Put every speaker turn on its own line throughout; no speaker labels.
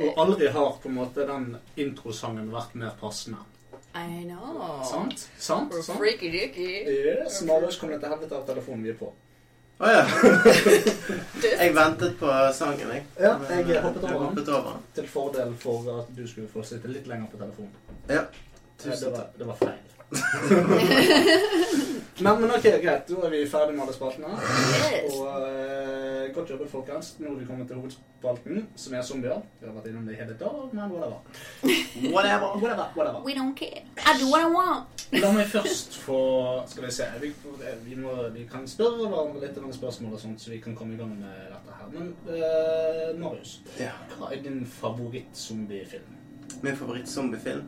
Og aldri har på en måte den introsangen vært mer passende.
I know.
Sant? Sant?
We're
Sant?
Freaky dicky.
Yes, Marius kom det til helvete av telefonen vi er på.
Å ja.
Dust.
Jeg ventet på sangen, jeg.
Ja,
Men,
jeg
eh,
hoppet over
jeg
den.
hoppet over den.
Til fordel for at du skulle få sitte litt lenger på telefonen.
Ja.
Eh, Det
Tusen
var,
takk.
det var feil. men, men ok, greit. Da er vi ferdig med alle spaltene.
Yes.
Og eh, godt jobbet, folkens. Nå er vi kommet til hovedspalten, som er zombier. Vi har vært innom det i hele dag, men whatever.
Whatever.
Whatever, whatever.
We don't care. I do what I want.
La meg først få Skal vi se. Vi, vi, må, vi kan spørre hverandre litt om spørsmål, og sånt, så vi kan komme i gang med dette her. Men eh, Marius,
Ja.
hva er din favoritt-zombiefilm?
Min favoritt-zombiefilm,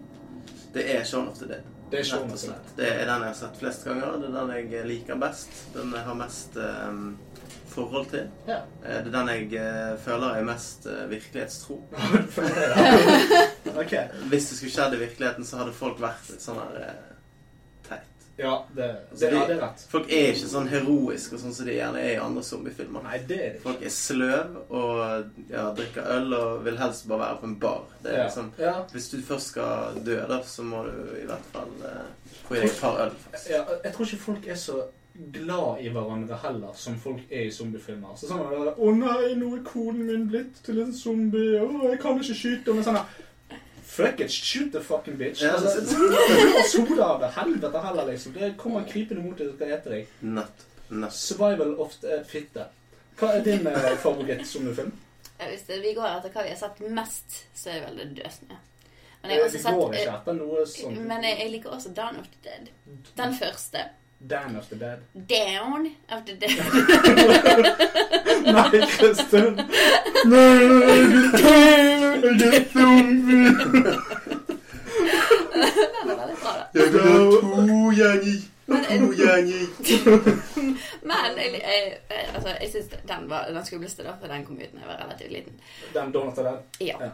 det er Shaun of the Dead.
Det er sånn Shaun
Rett og
of the Dead.
slett. Det er den jeg har sett flest ganger. Det er den jeg liker best. Den jeg har mest eh, forhold til.
Ja.
Eh, Det er den jeg eh, føler er mest eh, virkelighetstro.
ok.
Hvis det skulle skjedd i virkeligheten, så hadde folk vært litt sånn her eh, teit.
Ja, det,
Altså,
det, ja,
de-
det er rett.
Folk er ikke sånn heroiske og sånn som de gjerne er i andre zombiefilmer.
Nei, det er det ikke.
Folk er sløv og ja, drikker øl og vil helst bare være på en bar. Det er
Ja.
liksom,
Ja.
Hvis du først skal dø, da, så må du i hvert fall eh, få i deg et par øl. først.
ja. Jeg tror ikke folk er så glad i hverandre heller, som folk er i zombiefilmer. Så sånn er det, 'Å nei, nå er koden min blitt til en zombie. Å, jeg kan ikke skyte.' Men sånn her, Fuck it, shoot the fucking bitch.
Ja,
Altså,
det- sånn.
Blå soda av det helvete heller, liksom. Det kommer krypende mot deg og skal ete deg.
Nett. Nett.
Survival of the eh, fitte. Hva er din eh, favoritt-zombiefilm?
Ja, Hvis det- vi går etter hva vi har sett mest, så er vel det Dødsnø. Men jeg har
Vi
også
går
sett
ikke Sånn
eh,
etter noe sånt.
Men jeg, jeg liker også Down of the Dead.
Mm.
Den første.
Dan of the dead.
Down of the Dead.
Nei, Kristin.
Den er veldig bra, da.
Jeg vil ha to gjenger. To gjenger.
Men jeg, jeg, jeg, altså, jeg syns den var den skumleste, da, for den kom ut da jeg var relativt liten.
Dan Donald the Dead.
Ja.
Ja.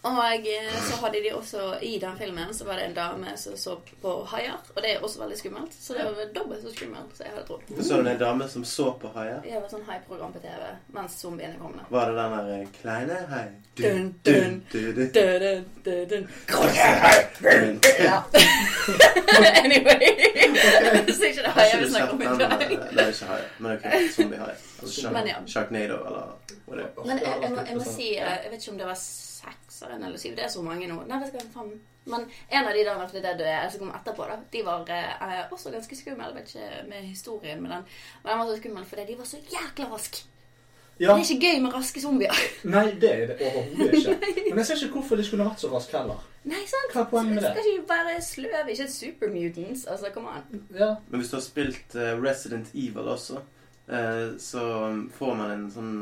Og eh, så hadde de også i den filmen så var det en dame som så på haier, og det er også veldig skummelt. Så det var dobbelt så skummelt som jeg hadde trodd.
Så du en dame som så på haier?
Det var sånn haiprogram på TV mens zombiene kom. da.
Var det den der eh, kleine hai?
Dun, dun,
dun, dun.
Dø, dø, dø, dø.
Dun.
Ja. anyway. Så ikke det
Har
haier
ikke
vi
du
snakker om i
sett den?
dag.
eh, Det er ikke haier, men ok, zombie-haier. Altså
Men ja.
Shark- Sharknado eller hva det er.
Men jeg, jeg, må, jeg må si eh, Jeg vet ikke om det var sekseren eller syv. Det er så mange nå. Nei, vet ikke hva faen. Men en av de der etter det døde, som kom etterpå, da, de var eh, også ganske skumle. Jeg vet ikke med historien med den. Men den var så skummel fordi de var så jækla raske.
Ja.
Det er ikke gøy med raske zombier.
Nei, det er det overhodet ikke. Men jeg ser ikke hvorfor de skulle vært så raske heller.
Nei, sant?
Hva er poenget med det?
Skal ikke være sløve, ikke supermutants. Altså, come on.
Ja.
Men hvis du har spilt eh, Resident Evil også, eh, så får man en sånn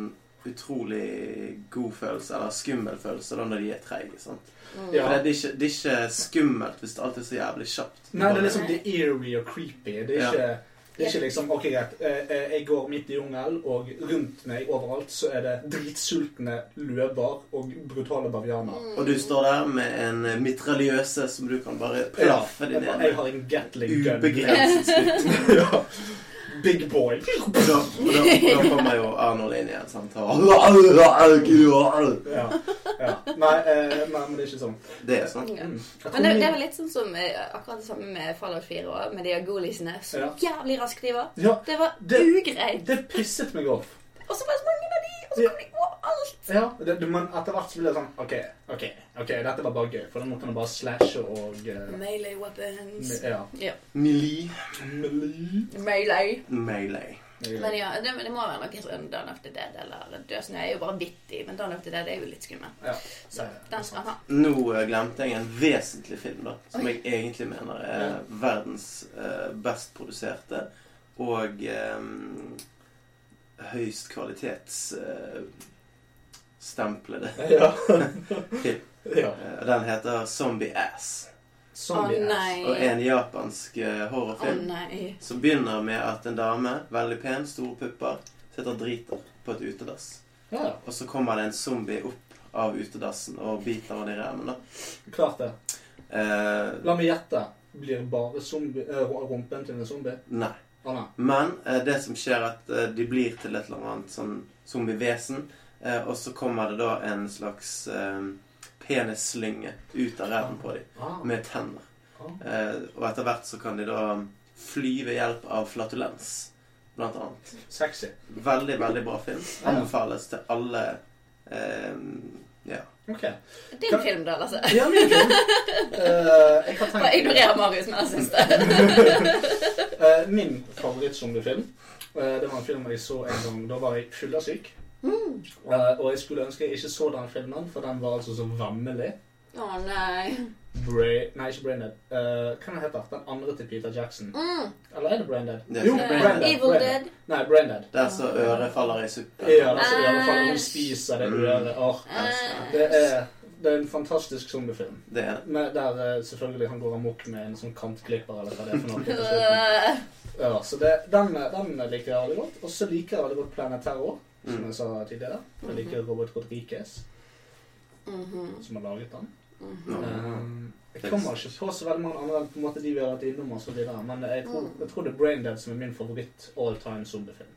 utrolig god følelse, eller skummel følelse, da når de er treige. sant?
Mm.
Ja.
For det, er ikke, det er ikke skummelt hvis det alltid er så jævlig kjapt.
Nei, det er liksom det er eerie og creepy. Det er
Ja.
ikke, det er ikke liksom OK, greit. eh, eh, Jeg går midt i jungel, og rundt meg overalt så er det dritsultne løver og brutale bavianer.
Og
Mm.
du står der med en mitraljøse som du kan bare
Ja,
plaffe
jeg,
din
bare- jeg
egen
har en Gatling gun.
ubegrenset skudd.
ja. Big boy.
Og da, og da, da kommer jo Arnold inn igjen. Sant? Og...
Ja. ja. Nei, eh, nei, men det er ikke sånn.
Det er sånn.
Ja.
Mm. Jeg tror
Men det, det
min-
er vel litt sånn som eh, akkurat det samme med Fallout 4 også, med de gooliesene. Så
Ja.
jævlig raske de var.
Ja,
Det var
Det-
ugreit.
det pisset meg off.
Og så var det så mange av de, og så
Ja.
kom de overalt.
Ja, det, det- men etter hvert så ble det sånn OK, ok, ok, dette var bare gøy. For den måten å bare slashe og eh,
Melee weapons.
me- Ja.
Ja.
Melee.
Melee.
Melee.
Melee.
Men ja, det, men det må være noe sånn Dawn of the Dead eller Dødsnø er jo bare vittig, men Dawn of the Dead er jo litt skummel.
Ja,
Så
det er
den skal han ha.
Nå eh, glemte jeg en vesentlig film da, som
Oi.
jeg egentlig mener er verdens eh, best produserte og eh, høyst eh, kvalitetsstemplede
Ja.
film.
ja. Sånn
Eh, Den heter Zombie Ass
Å
Zombie ass.
nei.
og er en japansk eh,
Å
horrorfilm
nei.
som begynner med at en dame, veldig pen, store pupper, sitter og driter på et utedass.
Ja,
Og så kommer det en zombie opp av utedassen og biter henne i ræven. da.
klart det.
Eh,
La meg gjette. Blir bare zombie, eh, rumpen til en zombie?
nei.
Å nei.
Men eh, det som skjer er at eh, de blir til et eller annet sånn zombievesen Eh, og så kommer det da en slags eh, penisslynge ut av ræven på dem
Ah,
med tenner.
ah.
Eh, og etter hvert så kan de da fly ved hjelp av flatulens, blant annet.
Sexy.
Veldig, veldig bra film.
Ja.
Anbefales til alle eh, Ja.
OK.
Din film, da, Lasse.
Ja, min film. Eh, jeg har
Bare
tenkt
ignorer Marius med den siste.
Eh, Min favorittzombiefilm eh, Det var en film jeg så en gang. Da var jeg fyllesyk.
Mm.
Eh, og jeg skulle ønske jeg ikke så den filmen, for den var altså så vammelig.
Å nei.
Bra nei, ikke Braindead. Uh, hva den heter den? Den andre til Peter Jackson.
Mm.
Eller er det Braindead?
Det er
Jo,
sikkert
Eh,
Braindead.
Evil
Braindead.
Dead.
Nei, Braindead.
Der så øret faller i suppen.
Ja, altså, i alle fall, hun
Æsj.
spiser det
Ah. Mm.
øret. Åh,
Eh,
det, er, det er en fantastisk zombiefilm.
Det er
Med, der eh, selvfølgelig han går amok med en sånn kantklipper eller hva det er for noe. på slutten.
øh,
Ja, så det, den, den liker jeg veldig godt. Og så liker jeg veldig godt Planet Terror. som
mm.
jeg sa tidligere. Jeg liker Robert Rodriguez,
mhm,
som har laget den.
mhm.
Um, Jeg kommer ikke på så veldig mange andre enn på en måte de vi har vært innom, og så videre, men jeg tror, jeg tror det er Braindead som er min favoritt all time zombiefilm.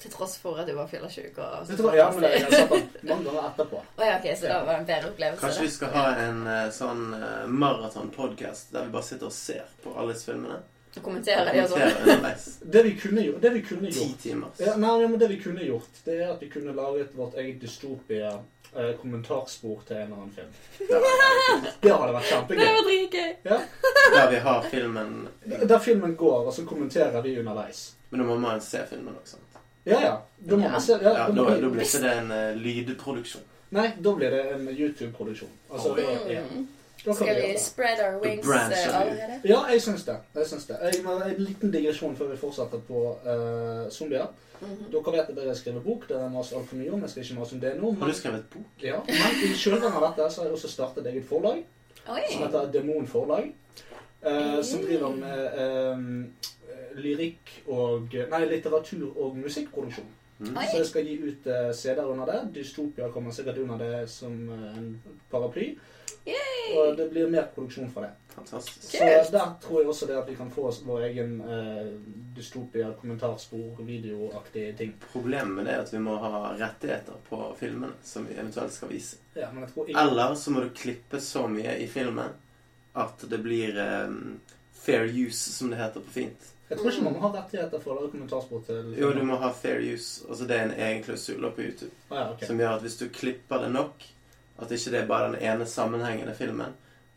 Til tross for at du var fyllesyk og
Jeg tror, ja, men jeg har sett den mange ganger etterpå.
Å ja, ok, så det var en bedre opplevelse.
Kanskje vi
da.
skal ha en eh, sånn eh, maraton-podcast der vi bare sitter og ser på alle disse filmene.
Og kommentere det og sånn.
Kommenterer underveis.
Det vi kunne gjort, det vi kunne
Ti
gjort
timer.
ja, Nei, ja, men det vi kunne gjort, det er at vi kunne laget vårt eget dystopia eh, kommentarspor til en eller annen film.
Der,
Det hadde vært
Det
kjempegøy.
var dritgøy.
der vi har filmen
Der filmen går, og så kommenterer vi underveis.
Men da må man se filmen også. sant?
Ja, ja. Da må
Ja.
man se. Ja,
Ja,
da
da,
må vi-
da blir ikke det en eh, lydproduksjon.
Nei, da blir det en YouTube-produksjon. Altså,
Oi.
da, ja.
Mm.
da kan vi
Skal
gjøre
vi
det.
spread our
The
wings
branch
eh,
of you.
allerede?
Ja, jeg syns det. Jeg syns det. Jeg, men en liten digresjon før vi fortsetter på eh, zombier.
Mhm.
Dere vet at dere skriver bok. Dere maser altfor mye om Jeg skal ikke mase om det nå.
Har
Men,
du skrevet bok?
ja, men i kjølvannet av dette så har jeg også startet eget forlag, som
Oi.
heter Demon Forlag. eh, som
Mm.
driver med eh, lyrikk og Nei, litteratur og musikkproduksjon.
Mm.
Oi.
Så jeg skal gi ut eh, CD-er under det. Dystopia kommer sikkert under det som eh, en paraply. Og
Yay.
det blir mer produksjon fra det.
Mm. Fantastisk.
Så
Kult!
der tror jeg også det at vi kan få oss vår egen eh, dystopia, kommentarspor, videoaktige ting.
Problemet med det er at vi må ha rettigheter på filmene som vi eventuelt skal vise.
Ja, men jeg tror ikke
Eller så må du klippe så mye i filmen at det blir eh, fair use, som det heter på fint.
Jeg tror ikke man har rettigheter for å lage kommentarspor til
Jo, du må ha fair use. Altså det er en egen klausul på YouTube
Ah, ja, ok.
som gjør at hvis du klipper det nok, at ikke det er bare den ene sammenhengende filmen,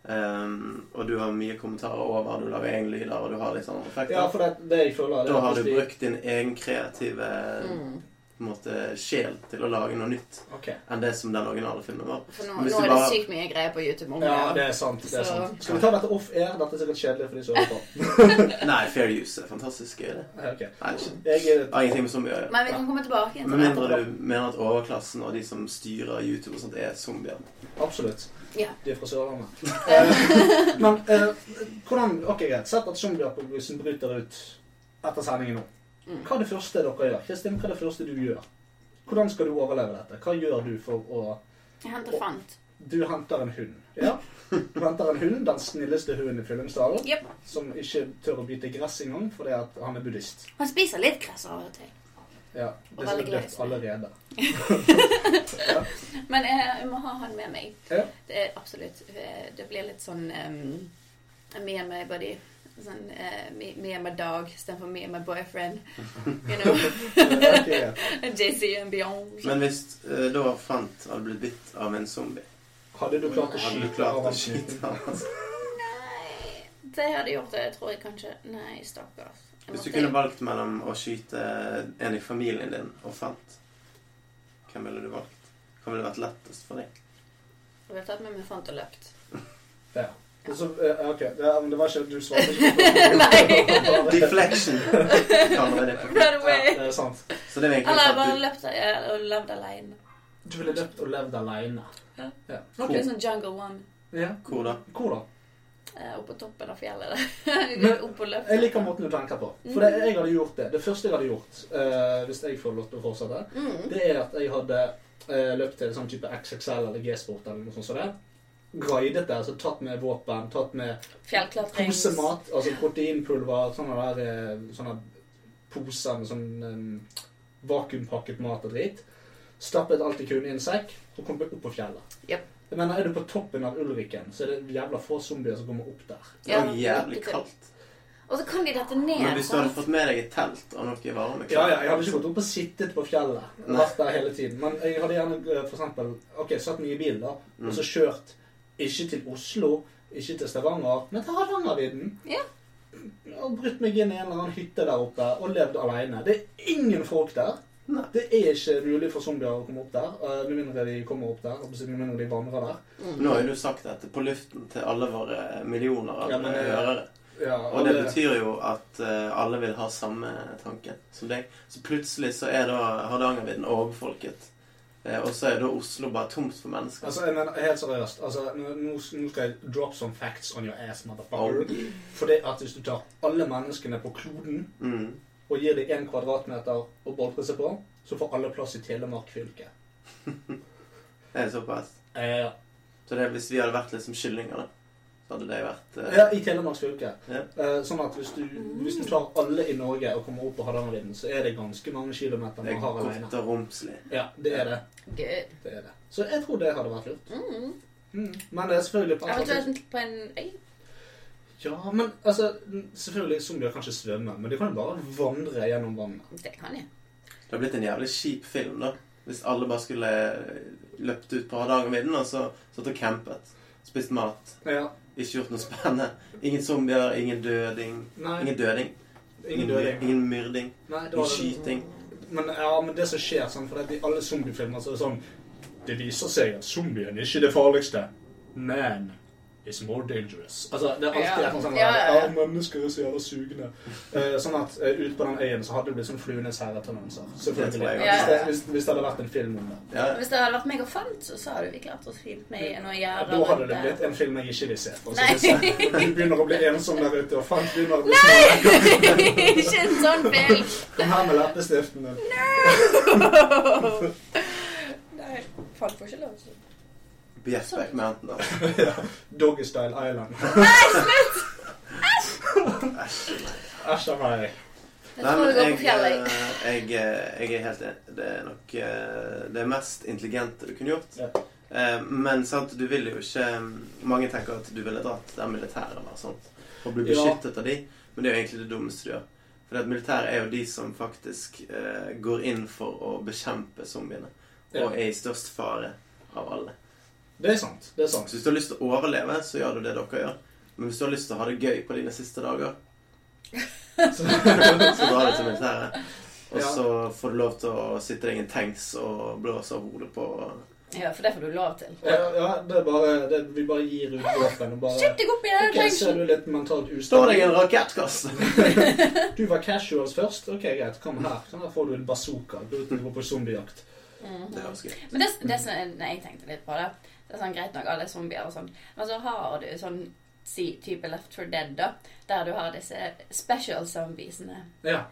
ehm, og du har mye kommentarer over, du lager egen lyder, og du har litt sånn effekter,
ja, for det, det jeg føler er
da har
at
du
hvis vi-
brukt din egen kreative
Mm.
på en måte, sjel til å lage noe nytt
Ok.
enn det som den originale filmen var.
For nå,
Men hvis
nå
du
er det
bare-
sykt mye greier på YouTube om
Ja,
det.
det er sant. det er
Så-
sant. Skal vi ta dette off air? Dette er sikkert kjedelig for de som hører på.
Nei, fair use er fantastisk gøy, det.
Ja, ok.
Nei, det er ikke-
Jeg, eh,
det har ingenting med zombier å gjøre.
Men vi kan komme tilbake igjen
Med
til det.
mindre du mener at overklassen og de som styrer YouTube og sånt, er zombier.
absolutt.
Ja.
De er fra Sørlandet. Eh, men eh, hvordan Ok, greit. Sett at zombieapokalypsen bryter ut etter sendingen nå.
Mm.
Hva er det første dere gjør? Kristin, hva er det første du gjør? Hvordan skal du overleve dette? Hva gjør du for å
Jeg henter fant.
Du henter en hund. Ja. Du henter en hund, den snilleste hunden i Fyllingsdalen,
Jep.
som ikke tør å bite gress engang fordi at han er buddhist.
Han spiser litt gress av og til.
Ja,
Og
Det er
veldig
sikkert dødt
greit.
allerede.
Men jeg, jeg må ha han med meg.
Ja.
Det er absolutt. eh, Det blir litt sånn um, me and my buddy. Sånn eh, me, me and my dog istedenfor me and my boyfriend. You know.
Ok, greit.
JC and Beyonce.
Men hvis eh, da Fant hadde blitt bitt av en zombie,
Hadde du klart å
hadde du
skyte
klart
av
å
han?
skyte han? altså?
Nei, det hadde gjort det. Jeg tror jeg kanskje Nei, stakkars. Jeg
Hvis du
måtte-
kunne valgt mellom å skyte en i familien din og Fant, hvem ville du valgt? Hva ville vært lettest for deg?
Jeg ville tatt med meg fant og løpt.
Ja. Og Så, eh, ok, ja, men det var ikke Du svarte ikke på spørsmålet.
Deflection! Kaller jeg det på.
Run
Ja,
away!
det er sant.
Så det var
Eller jeg
egentlig
bare
sånn at
løpt eh, og levd alene.
Du ville løpt og levd aleine.
Ja.
Ja.
Det
Ok.
er sånn Jungle One
Ja.
du Hvor da?
Hvor da?
eh, oppå toppen av fjellet.
Men
der. Opp og løpt.
Jeg liker måten du tenker på. For
Mm.
det, jeg hadde gjort det. Det første jeg hadde gjort, eh, hvis jeg får lov til å fortsette,
Mm.
det er at jeg hadde eh, løpt til sånn type XXL eller G-sport eller noe sånt som det. Guidet det, altså tatt med våpen, tatt med
Fjellklatring.
posemat, altså proteinpulver, sånne der eh, sånne poser med sånn eh, vakuumpakket mat og drit. stappet alt de kunne i en sekk og kom opp på fjellet.
Jep.
Jeg mener, Er du på toppen av Ulriken, så er det jævla få zombier som kommer opp der.
Det var jævlig kaldt.
Og så kan de dette ned.
Men hvis du hadde
sant?
fått med deg et telt og noe varme
Ja, ja, Jeg hadde ikke gått opp og sittet på fjellet og
Nei.
vært der hele tiden. Men jeg hadde gjerne eh, for eksempel, ok, satt meg i bilen da, og
Mm.
så kjørt ikke til Oslo, ikke til Stavanger, men til Hardangervidda.
Ja.
Og brutt meg inn i en eller annen hytte der oppe og levd alene. Det er ingen folk der.
Nei.
Det er ikke mulig for zombier å komme opp der, eh, med mindre de kommer opp der. og Med mindre de vandrer der.
Mm.
Nå har jo du sagt dette på luften til alle våre millioner av
Ja, men, eh,
hørere.
Ja,
Og det betyr jo at eh, alle vil ha samme tanken som deg. Så plutselig så er da Hardangervidda overfolket. Eh, og så er da Oslo bare tomt for mennesker.
Altså, jeg mener, helt seriøst. Altså, nå, nå nå skal jeg drop some facts on your ass, motherfucker.
Og-
Fordi at hvis du tar alle menneskene på kloden
mm.
og gir dem én kvadratmeter å boltre seg på, så får alle plass i Telemark fylke.
Det er såpass.
Eh,
Så det er hvis vi hadde vært liksom kyllinger, da, så hadde det vært eh,
ja, i Telemark fylke.
Ja.
Eh, sånn at hvis du, hvis du tar alle i Norge og kommer opp på Hardangervidda, så er det ganske mange kilometer
Det er
man har alene.
godt og romslig.
Ja, det er det.
Good.
det er det. Så jeg tror det hadde vært lurt.
Mm.
Mm. Men det er selvfølgelig på
Eventuelt på en øy.
Ja, men altså, selvfølgelig zombier kan ikke svømme, men de kan jo bare vandre gjennom vannet.
Det kan jeg.
Det har blitt en jævlig kjip film, da. Hvis alle bare skulle eh, løpt ut på Hardangervidda og så satt og campet. Spist mat.
Ja,
Ikke gjort noe spennende. Ingen zombier, ingen døding.
nei,
Ingen døding.
ingen døde.
Ingen myrding.
Nei, det
Ingen
var det.
skyting.
Men, ja, men det som skjer sånn, for det, i alle zombiefilmer så er det sånn Det viser seg at zombien er ikke det farligste. Man is more dangerous. Altså, det er alltid
Ja.
noe sånn
Ja, ja, ja.
«Ja, mennesker er så jævla sugende. Eh, sånn at eh, ute på den øyen så hadde det blitt sånn Fluenes herre-tendenser.
Det tror
Selvfølgelig.
jeg
også.
Hvis, det, hvis, hvis det hadde vært en film om det.
Ja,
Hvis det hadde vært meg og Fant, så så hadde vi klart oss fint med noe gjerde.
Da hadde det
rundt
blitt
der.
en film jeg ikke vil se. For, å
Nei.
si det sånn. Vi begynner å bli ensomme der ute, og faen begynner å bli snille.
Ikke en sånn film!
Kom her med leppestiften din.
Nei, altså. Fant får ikke lov til
Bjerkbæk Mountain, da.
Doggystyle Island.
Nei, slutt!
Æsj a meg.
Jeg tror vi går på fjellet. jeg.
jeg, eh, jeg er helt enig. Det er nok eh, det mest intelligente du kunne gjort.
Ja.
Eh, Men sant, du vil jo ikke mm, Mange tenker at du ville dratt der militæret var. Sant? Og bli
Ja.
beskyttet av de. Men det er jo egentlig det dummeste du gjør. For at militæret er jo de som faktisk eh, går inn for å bekjempe zombiene.
Ja.
Og er i størst fare av alle.
Det er sant. Det er sant.
Så hvis du har lyst til å overleve, så gjør du det dere gjør. Men hvis du har lyst til å ha det gøy på dine siste dager, så drar du til militæret. sånn eh, Og
Ja.
så får du lov til å sitte deg i en tanks og blåse av hodet på
Ja, for det får du lov til.
Ja, ja det er bare, det, vi bare gir ut våpen og bare
Skyt deg opp i den
Ok, så er
tanken!
du litt mentalt
Står deg i
ustabil.
en rakettkasse!
Du var casuals først. Ok, greit, kom her. Sånn her får du en bazooka. Du du går på zombiejakt.
Det høres gøy ut.
Mhm. Men det, det som er- sånn- nei, jeg tenkte litt på det Det er sånn greit nok, alle er zombier og sånn Men så har du sånn si, type Left 4 Dead da Der du har disse special zombiesene
Ja.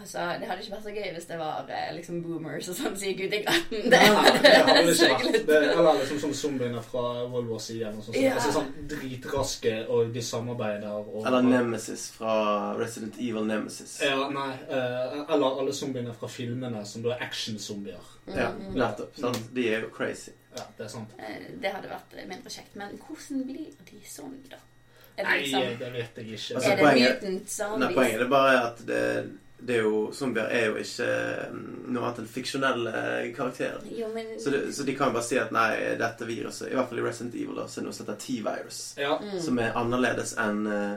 Altså, det hadde ikke vært så gøy hvis det var eh, liksom boomers og sånn Sier Gud i glatten
Nei, nei, det hadde det ikke
så
vært.
glitt.
Det, eller liksom sånn zombiene fra World War Z eller noe sånt.
Ja.
Altså sånn dritraske, og de samarbeider og
Eller Nemesis fra Resident Evil Nemesis.
Ja, nei. eh, eller alle zombiene fra filmene som da er actionzombier.
Ja,
Mhm.
nettopp. Sant? De er jo crazy.
Ja, det er sant.
Eh, Det hadde vært eh, mindre kjekt Men hvordan blir de sånn da? Er det,
Nei,
liksom,
det vet jeg ikke.
eh, Altså,
er det
poenget-
mutant
Nei,
zombies?
poenget er bare at det, det er jo, zombier er jo ikke mm, noe annet enn fiksjonelle karakterer.
jo, men
Så, det, så de kan jo bare si at nei, dette viruset I hvert fall i Resident Evil da, så er det noe som heter T-virus.
Ja.
Mm.
Som er annerledes enn eh,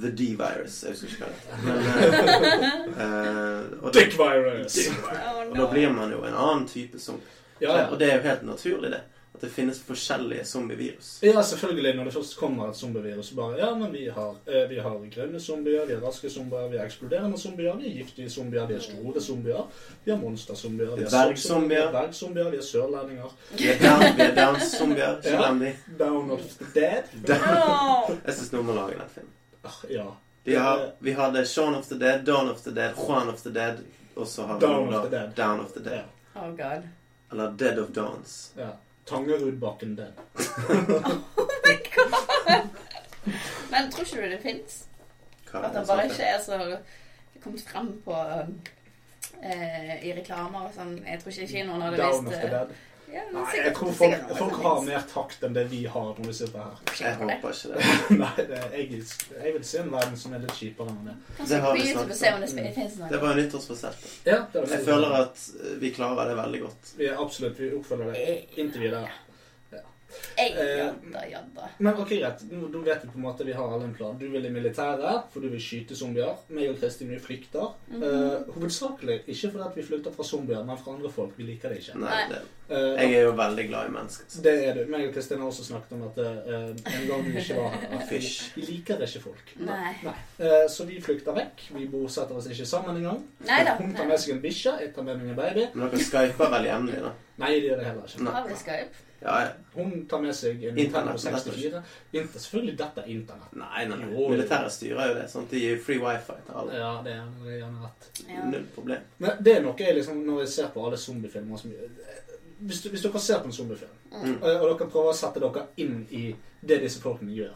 The D-virus. Jeg husker ikke hva det heter. Men, eh, eh, og,
Dick virus!
Å,
og
no.
da blir man jo en annen type zombie.
Ja, ja.
Og det er jo helt naturlig, det. At det finnes forskjellige zombievirus.
Ja, selvfølgelig. Når det først kommer et zombievirus, så bare Ja, men vi har, eh, vi har grønne zombier, vi har raske zombier, vi har eksploderende zombier, vi har giftige zombier, vi har store zombier, vi har monsterzombier, vi har
Dvergzombier.
sorgzombier, vi har dvergzombier, vi har sørlendinger.
Vi er down- vi er Downs-zombier. Ikke
Ja.
glem de.
Down of the dead.
Å.
Jeg syns noen må lage den filmen.
Ah, Ja.
De har, vi hadde Shaun of the Dead, Dawn of the Dead, Juan of the Dead, og så har vi
Dawn
nå
of
da
the Dead.
Down of the
Ja.
Dead.
Oh god
Eller Dead of Dawns.
ja. Tangerudbakken dead.
my god! Men tror ikke du det fins?
Hva er
At
det
det bare
som
ikke er så kommet frem på um, eh, i reklamer og sånn. Jeg tror ikke kinoen hadde
Down of
visst
the
eh,
Dead.
ja, men
Nei,
sikkert-
jeg tror folk,
sikkert
folk
det
har
finnes.
mer takt enn det vi har når vi sitter her.
Kanskje
Jeg
ikke det.
håper ikke det.
Nei, det, jeg, jeg vil se en verden som er litt kjipere enn det.
Kanskje
Det
på
har vi
YouTube
snakket
og se
om.
om det sp-
Mm.
finnes noe.
Det var jo nyttårsforsett.
Ja, det var
Jeg føler at eh, vi klarer det veldig godt.
Vi er absolutt, vi oppfølger det inntil videre.
Ei,
Eh,
jadda, jadda.
Men ok, greit. Nå, nå vet vi på en måte vi har alle en plan. Du vil i militæret, for du vil skyte zombier. Meg og Kristin vi flykter.
Mhm.
Eh, hovedsakelig ikke fordi at vi flykter fra zombier, men fra andre folk. Vi liker det ikke.
Nei,
Nei.
det,
Eh,
jeg er jo veldig glad i mennesker. så.
Det er du. Meg og Kristin har også snakket om at eh, en gang vi ikke var her at vi-
Fish.
Vi liker ikke folk.
Nei.
Eh, så vi flykter vekk. Vi bosetter oss ikke sammen engang.
Nei da.
Hun tar
nei.
med seg en bikkje, jeg tar med meg en baby.
Men dere skyper vel jevnlig, da?
Nei, det gjør jeg heller ikke.
Nei.
Har vi Skype?
Ja, ja.
Hun tar med seg en
Internett,
Nintendo 64. Inter, selvfølgelig dette er internett.
Nei, nei. nei.
Jo.
Militæret styrer jo det. sant? De gir free wifi til alle.
Ja, det er det er gjerne rett.
Ja.
Null problem.
Men det er noe jeg liksom, når jeg ser på alle zombiefilmer som hvis, du- hvis dere ser på en zombiefilm,
Mm.
og og dere prøver å sette dere inn i det disse folkene gjør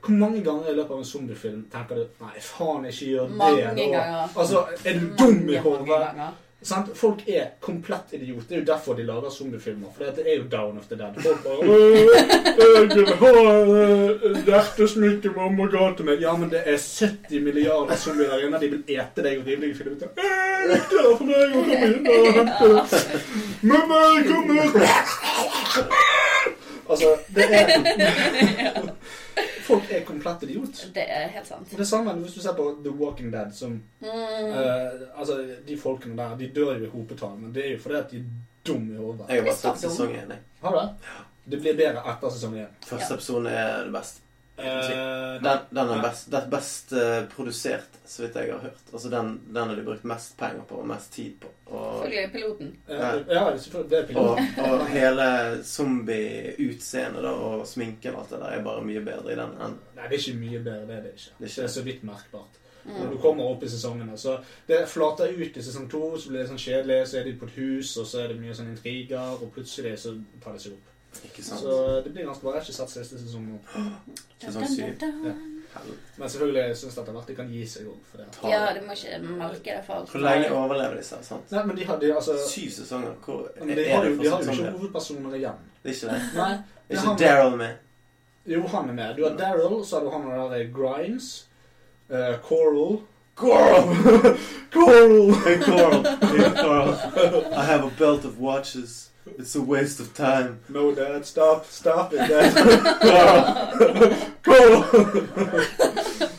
Hvor mange ganger i løpet av en zombiefilm tenker du 'nei, faen, ikke gjør
Mange
det'? nå».
ganger.
Altså, er du dum i
Mange, mange
hodet?
ganger.
Sant? Folk er komplett idioter. Det er jo derfor de lager zombiefilmer. For det er jo down of the dead. Folk bare «Øh, Jeg vil ha øh, hjertesmykket mamma ga til meg. Ja, men det er 70 milliarder zombier der inne. De vil ete deg og rive deg i fillebiter. «Øh, Ikke der for meg! og Kom inn og hente det.» Mamma, kom her! Altså, det er Folk er komplett idiot.
Det er helt sant.
Og Det samme hvis du ser på The Walking Dead, som
Mm.
Eh, altså, De folkene der de dør jo i hopetall, men det er jo fordi at de er dumme i hodet.
Jeg har bare
Visst
sett
var det
sesong én. jeg.
Har du det? Det blir bedre etter sesong én.
Første
Ja.
episode er det beste.
Eh,
Den, den er
Nei.
best, det er best eh, produsert, så vidt jeg har hørt. Altså, den, den har de brukt mest penger på og mest tid på. Og,
Selvfølgelig piloten.
eh, ja, det er selvfølgelig- det er
og,
pilot.
og hele zombie-utseendet da, og sminken og alt det der er bare mye bedre i den enn
Nei, det er ikke mye bedre. Det er det ikke.
Det er ikke-
Det er så vidt merkbart. Når
Mm.
du kommer opp i sesongene, så det flater ut i sesong to, så blir det sånn kjedelig, så er de på et hus, og så er det mye sånn intriger, og plutselig så tar det seg opp.
Ikke sant?
Så eh, det blir ganske bra. Jeg har ikke sett siste sesong nå.
Sesong syv.
Da, da, da.
Helvete.
Men selvfølgelig syns jeg etter hvert de kan gi seg òg, for det.
Ta
Ja,
det.
du må ikke melke deg for alt.
Hvor lenge overlever disse? sant?
Nei, men de hadde altså
Syv sesonger? Hvor, er,
Men de
er
har,
det
jo, de har
for sånn,
jo ikke
sesonger?
hovedpersoner igjen.
Det er ikke det.
Nei,
Det er
han med.
ikke Daryl med.
Jo, han er med. Du har Daryl, så har du han der eh, Grimes. eh, Coral.
Coral!
Coral!
Hey, Coral. Hey, Coral. I have a belt of watches. It's a waste of time.
No, dad, stop. Stop it, dad.
Coral!
Coral!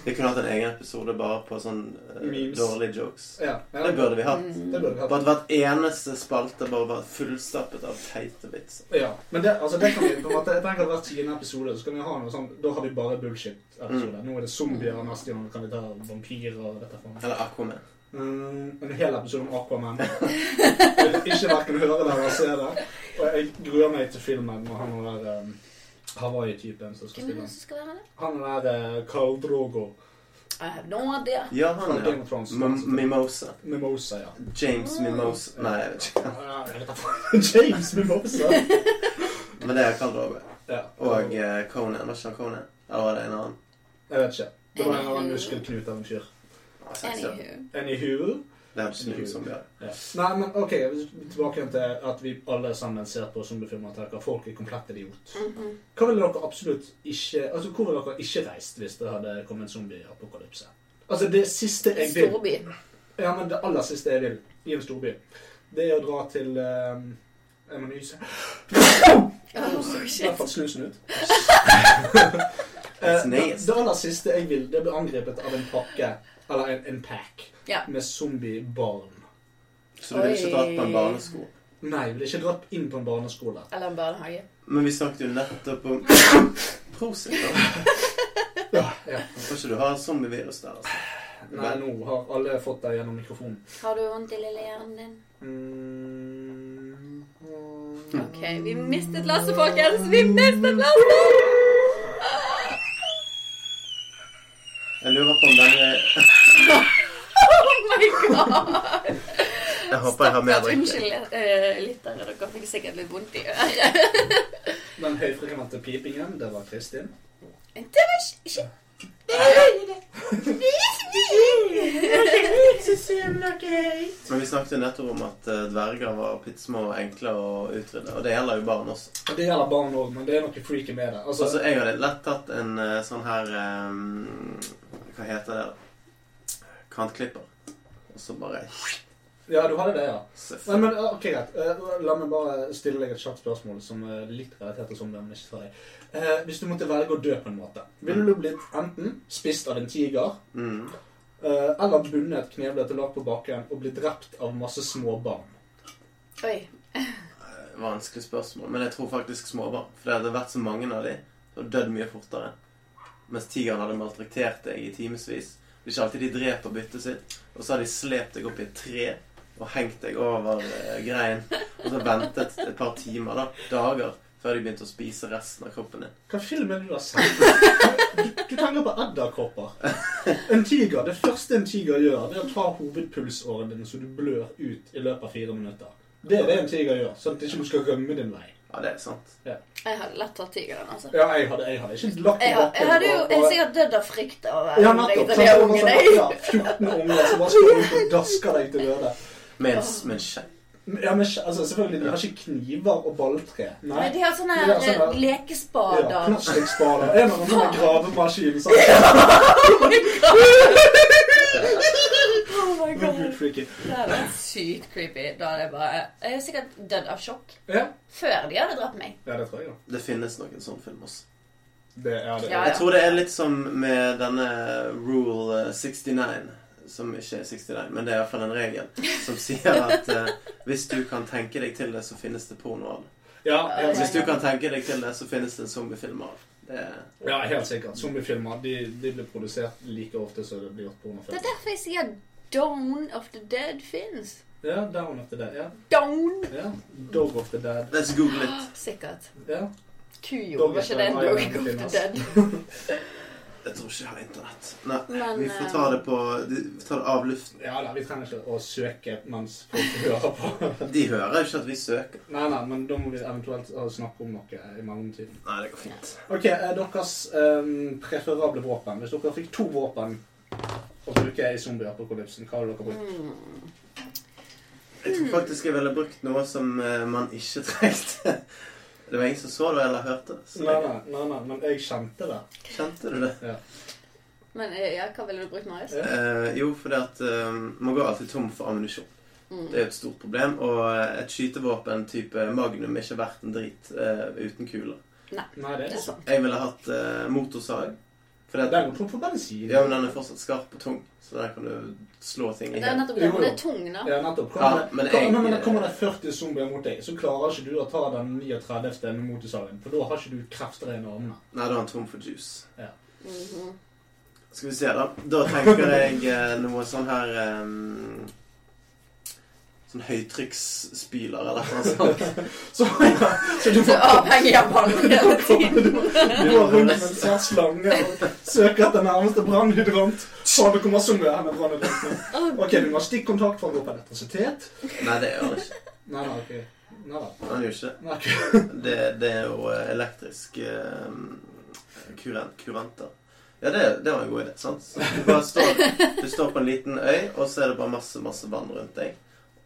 Vi kunne hatt en egen episode bare på sånn eh,
Memes.
dårlige jokes.
Ja, men-
Det burde vi hatt.
Det
Mm.
burde vi hatt.
Bare at hvert eneste spalte bare var fullstappet av teite vitser.
Ja, men det, altså, det kan vi på en måte Jeg tenker at hver tiende episode så kan vi ha noe sånn Da har vi bare
Mm.
bullshit-episoder. Nå er det zombier, neste gang kan vi ta vampyrer og dette. For meg.
Eller Aquaman.
Mm, en hel episode om Aquaman. Jeg vil ikke hverken høre det eller se det. Og jeg gruer meg til filmen med han og der um, Hawaii-typen som skal
Hvem er
spille
det
den.
som skal være det?
Han og der uh, Carl Drogo
I have no idea.
Ja,
fra
han, ja.
Game of Thrones. Altså,
M Mimosa.
Mimosa, ja.
Mm.
James Mimosa. Nei, jeg vet ikke.
Ja, jeg vet da faen. James Mimosa.
Men det er Karl Drogo.
Ja.
Og eh, Conan. Var ikke han Conan? Eller var det en annen?
Jeg vet ikke. Det var en eller annen muskelknut av en fyr.
Ah, jeg ser ikke.
Anywho.
Anywho
Det er ikke noe som blir
Ja. Nei, men ok, tilbake igjen til at vi alle sammen ser på zombiefilmer og tenker folk er komplett idiot.
Mhm.
Hva ville dere absolutt ikke Altså, Hvor ville dere ikke reist hvis det hadde kommet en zombieapokalypse? Altså, det siste jeg vil
Storby.
Ja, men det aller siste jeg vil i en storby, det er å dra til ehm, Jeg må nyse.
Oh,
I hvert
shit.
fall snusen ut. Eh,
It's
det,
nice.
det aller siste jeg vil, det er å bli angrepet av en pakke, eller en, en pack,
Ja.
med zombiebarn.
Så du ville ikke dratt på en barnesko?
Nei, jeg ville ikke dratt inn på en barneskole.
Eller en barnehage.
Men vi snakket jo nettopp om Prosit, da.
Ja, ja.
Får ikke du ha zombievirus der, altså?
Nei, nå har alle fått det gjennom mikrofonen.
Har du vondt i lille hjernen din?
Mm.
Ok, vi mistet Lasse, folkens! Vi mistet Lasse!
Jeg lurer på om denne
Oh my god!
Jeg håper jeg har mer
Stakkars
drikke.
Unnskyld, eh, lyttere. Dere fikk sikkert litt vondt i øret.
Den høyfrekvente pipingen, det var Kristin.
Det var ikke- ikke
Men vi snakket jo nettopp om at eh, dverger var pittsmå og enkle å utrydde. Og det gjelder jo barn også.
Det gjelder barn òg, men det er noe freaky med det. Altså,
Altså, jeg hadde lett tatt en eh, sånn her eh, Hva heter det? Kantklipper. Og så bare
ja, du hadde det, ja.
Seff.
Nei, men ja, ok, greit. Eh, La meg bare stille deg et kjapt spørsmål som er litt relatert til zombie, men ikke for deg. Eh, Hvis du måtte velge å dø på en måte, ville du blitt enten spist av en tiger,
Mm.
eh, eller bundet kneblet og lagt på baken og blitt drept av masse små barn?
Oi.
Eh, Vanskelig spørsmål. Men jeg tror faktisk småbarn. For det hadde vært så mange av de, og dødd mye fortere. Mens tigeren hadde maltraktert deg i timevis. Det er ikke alltid de dreper byttet sitt. Og så har de slept deg opp i et tre og hengt deg over eh, greien. Og så ventet et par timer, da, dager, før de begynte å spise resten av kroppen din.
Hva film er det du har sett? Du, du tenker på edderkopper. En tiger, Det første en tiger gjør, det er å ta hovedpulsåren din så du blør ut i løpet av fire minutter. Det er det en tiger gjør, sånn at du ikke skal rømme din vei.
Ja, det er sant.
Jeg hadde lett tatt tigeren, altså.
Ja, jeg hadde, jeg hadde ikke lagt
Jeg,
meg
har-
opp
jeg hadde jo
og-
jeg sikkert dødd av frykt av eh,
Ja,
om jeg
nettopp. sant?
ikke ble
Det var
ungen,
sånn,
jeg.
ja, 14 unger som bare skal rundt og dasker deg til døde.
Med en, med en skje.
Ja, men skje- altså, selvfølgelig, de har ikke kniver og balltre. Nei.
Men de har sånne
De har sånne-
eh,
Ja,
lekespader.
Plastikkspader. En av dem har gravemaskin. sant?
Oh my
Det er
god.
Gud freaky.
Det hadde vært sykt creepy. Da hadde jeg bare Jeg er sikkert dødd av sjokk
Ja.
før de hadde drept meg.
ja, det tror jeg, da.
Det finnes noen sånne filmer også.
Det er det.
Ja, ja.
Jeg tror det er litt som med denne rule eh, 69, som ikke er 69, men det er iallfall en regel, som sier at eh, hvis du kan tenke deg til det, så finnes det porno av det.
Ja, helt
Hvis du
sikkert.
kan tenke deg til det, så finnes det en zombiefilm av det. det. er-
Ja, helt sikkert. Zombiefilmer de, de blir produsert like ofte som det blir gjort
Det er
pornofilmer.
derfor jeg sier Dawn of the Dead fins.
Ja, Down of the Dead. Ja.
Dawn!
ja. Dog of the Dead.
Let's google it.
Sikkert.
Ja.
Kujo.
Dog
Var
is
ikke det en
an
dog
island
of the
film,
dead?
Jeg tror ikke jeg har internett. Nei,
Men, eh,
vi får ta det på Vi tar det av luften.
ja da, vi trenger ikke å søke mens folk hører på.
De hører jo ikke at vi søker.
Nei, nei, men da må vi eventuelt eh, snakke om noe i mellomtiden.
Nei, det går fint.
Ok, eh, deres eh, preferable våpen. Hvis dere fikk to våpen å bruke i zombieapokalypsen, hva hadde dere brukt?
Mm.
Jeg tror faktisk jeg ville brukt noe som eh, man ikke trengte. Det var ingen som så det eller hørte det. Så
Nei,
jeg,
nei, nei, nei, men jeg kjente det.
kjente du det?
Men eh, ja, hva ville du brukt, Marius?
Ja.
Eh, jo, fordi at eh, man går alltid tom for ammunisjon.
Mm.
Det er jo et stort problem. Og eh, et skytevåpen type magnum er ikke verdt en drit eh, uten kuler.
Nei, det
Det
er
er sånn.
sant.
sant.
Jeg ville hatt eh, motorsag. Fordi at,
Den går tom for bensin.
ja, men den er fortsatt skarp og tung, så der kan du slå ting
Det
i
er
hjel.
nettopp det.
Jo,
Men det
jo.
er tung, da.
Ja, nettopp.
Ja,
Kommer,
men
men
jeg- eh,
kommer, men det kommer det 40 zombier mot deg, så klarer ikke du å ta den 39. med motorsagen. For da har ikke du krefter igjen i armene.
Nei, da er han tom for juice.
Mhm.
Skal vi se, da. Da tenker jeg eh, noe sånn her eh, Sånn høytrykksspyler eller noe sånt.
Så, ja, så du
Du
må
er avhengig av vann hele tiden.
Du går rundt med en svær slange og søker etter nærmeste brannhydrant. Faen, det kommer zombier her med brannhydrant. Ok, du må ha stikkontakt for å gå på elektrisitet.
Nei, det gjør han ikke.
Nei, nei, ok. Nei, da.
Han gjør ikke det.
Nei, ok.
Det, det er jo eh, elektrisk eh, kurant, kuranter. Ja, det, det var en god idé. sant? Så Du, bare står, du står på en liten øy, og så er det bare masse masse vann rundt deg.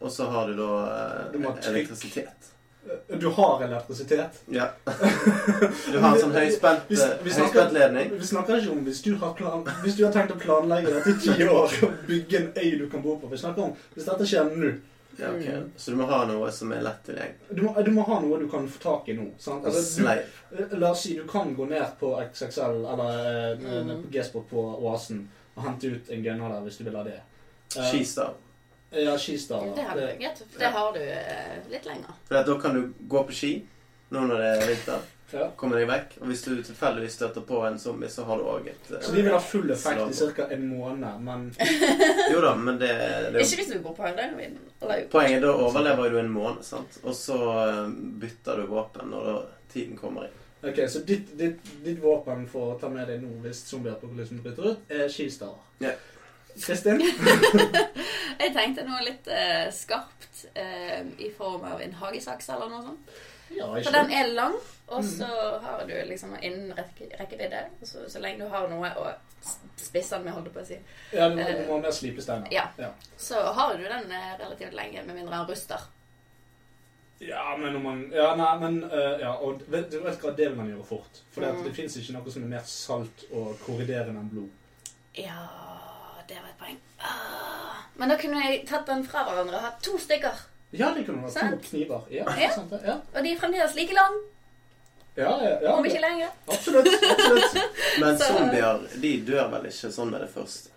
Og så har du da eh,
Du må ha trykk.
elektrisitet.
Eh, Du har elektrisitet.
Ja. Du har en sånn høyspent,
Vi- vi
eh,
snakker-
høyspent ledning.
Vi snakker ikke om hvis du har, plan, hvis du har tenkt å planlegge dette i ti år og bygge en øy du kan bo på. Vi snakker om hvis dette skjer nå.
Ja, ok.
Mm.
Så du må ha noe som er lett tilgjengelig.
Du må, du må ha noe du kan få tak i nå. Sant?
En
Altså, du,
sleip.
La oss si du kan gå ned på XXL eller eh,
Mhm.
G-sport på Oasen og hente ut en gunner der hvis du vil ha det. Eh,
Skistav.
Ja, Skistad.
Det hadde vært greit. for Det har du eh, litt lenger.
For at da kan du gå på ski nå når det er vinter.
Ja.
Kommer deg vekk. Og hvis du tilfeldigvis støter på en zombie, så har du òg et
Så
eh,
de vil ha full effekt i ca. en måned, men
Jo da, men det, det er jo
Ikke hvis du går på Høylandsvinden. Eller jo.
Poenget er da overlever du en måned, sant? og så eh, bytter du våpen når da tiden kommer inn.
Ok, Så ditt, ditt, ditt våpen for å ta med deg nå hvis zombieapokalypsen bryter ut, er Skistad.
Ja.
Kristin?
Jeg tenkte noe litt eh, skarpt eh, i form av en hagesaks eller noe sånt.
Ja,
For
ikke
den er lang, Og så har du liksom innen rekke, rekkevidde, og så, så lenge du har noe å s- spisse den med, holdt jeg på å si,
Ja, du må, du må ha mer slipesteiner.
Eh, Ja.
ja.
så har du den eh, relativt lenge, med mindre han ruster.
Ja, men om man Ja, nei, men eh, ja, og vet, du vet hva, det vil man gjøre fort. For
Mm.
det, at det fins ikke noe som er mer salt og korriderende enn blod.
Ja, det var et poeng. Ah, men da kunne jeg tatt den fra hverandre og hatt to stykker.
Ja, det kunne vært to
Sant.
kniver. Ja,
Ja.
sant det. Ja,
Og de er fremdeles like lang,
ja, ja, ja
om
det-
ikke lenger.
Absolutt. absolutt.
Men
Så-
zombier de dør vel ikke sånn med det første.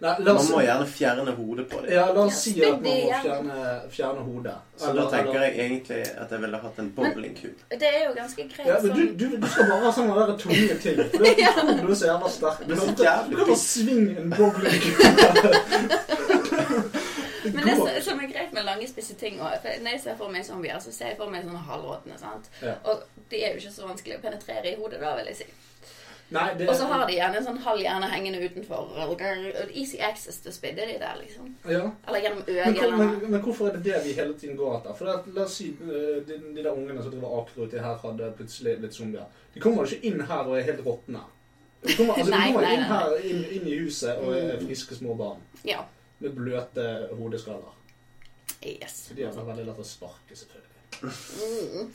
Nei, la
Man
oss,
må gjerne fjerne hodet på dem.
ja, la
Ja,
oss si at man
spydd i
må
hjernen.
fjerne, fjerne hodet.
Så da tenker jeg egentlig at jeg ville hatt en bowlingkul.
Det er jo ganske greit
ja, men
sånn.
du, du, du skal bare ha sånne der tunge ting. For det er du er så jævla sterk. Du
Du er så
kan
jævlig
bare svinge en bowlingkule.
Men det som- som er greit med lange, spisse ting også, for Når jeg ser for meg zombier, så ser jeg for meg sånne halvråtne. sant?
Ja.
Og de er jo ikke så vanskelig å penetrere i hodet, da, vil jeg si.
Nei, det,
Og så har de gjerne en sånn halv hjerne hengende utenfor. og Easy access til å spidde de der, liksom.
ja.
Eller gjennom
Men, hvor-
øynene.
men, men hvorfor er det det vi hele tiden går etter? For det, at- La oss si eh, de, de der ungene som driver aker uti her, hadde plutselig blitt zombier. De kommer jo ikke inn her og er helt råtne. De kommer, altså,
Nei,
de kommer
nei,
inn
nei. Mm.
her, inn, inn i huset, og er friske små barn
Ja.
med bløte hodeskaller.
Yes.
Så de er altså veldig lett å sparke, selvfølgelig.
Mm.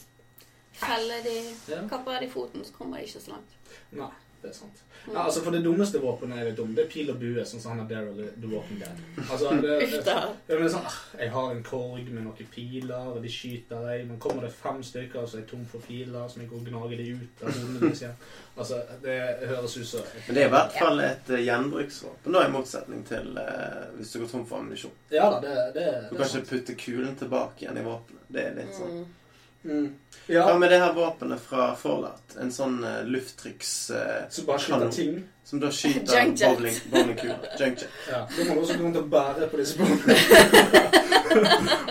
Feller de
Ja.
Kapper de foten, så kommer de ikke så langt. Mm.
Nei, det er sant. Ja, altså, for det dummeste våpenet jeg vet om, det er pil og bue, sånn som han har Daryl i The Walking Dead. Altså, det,
Uff
det,
da.
Ja, men sånn, «Ah, jeg har en korg med noen piler, og de skyter deg. Men kommer det fem stykker, så er jeg tom for piler, så jeg går og gnager de ut av hodene deres igjen. Altså, det høres ut som
Men det er i hvert fall et eh, gjenbruksvåpen, da, i motsetning til eh, hvis du går tom for ammunisjon.
Ja da, det, det,
Du
det
kan ikke putte kulen tilbake igjen i våpenet. Det er litt sånn.
Mm.
Mm. Ja,
Hva med det her våpenet fra Fallout? En sånn uh, lufttrykks... eh,
så bare skyter
kanon,
ting.
Som da skyter
Junk jet.
bowling- bowlingkuler. Junk jet.
Ja, Da må du også gå rundt og bære på disse bombene.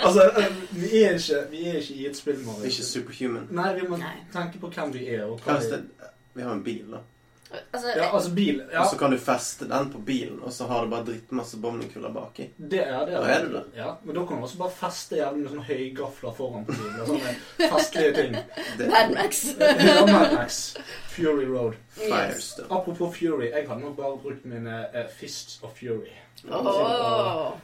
altså, vi er, ikke, vi er ikke i et spill,
Det er Ikke
Marius.
superhuman.
Nei, vi må
Nei.
tenke på hvem vi er, og
Hva
hva
hvis
vi
det, vi har en bil, da.
Altså,
Ja, altså bil. Ja,
Og så kan du feste den på bilen, og så har du bare drittmasse bowlingkuler baki.
Det er det.
Da er du det.
Ja, men da kan du også bare feste jævlig med sånne høygafler foran på bilen. og Sånne festlige ting.
Det
Mad Max.
Ja, Mad Max. Fury Road.
Yes.
fires, da.
Apropos Fury, jeg hadde nok bare brukt mine eh, Fists of Fury.
Åh.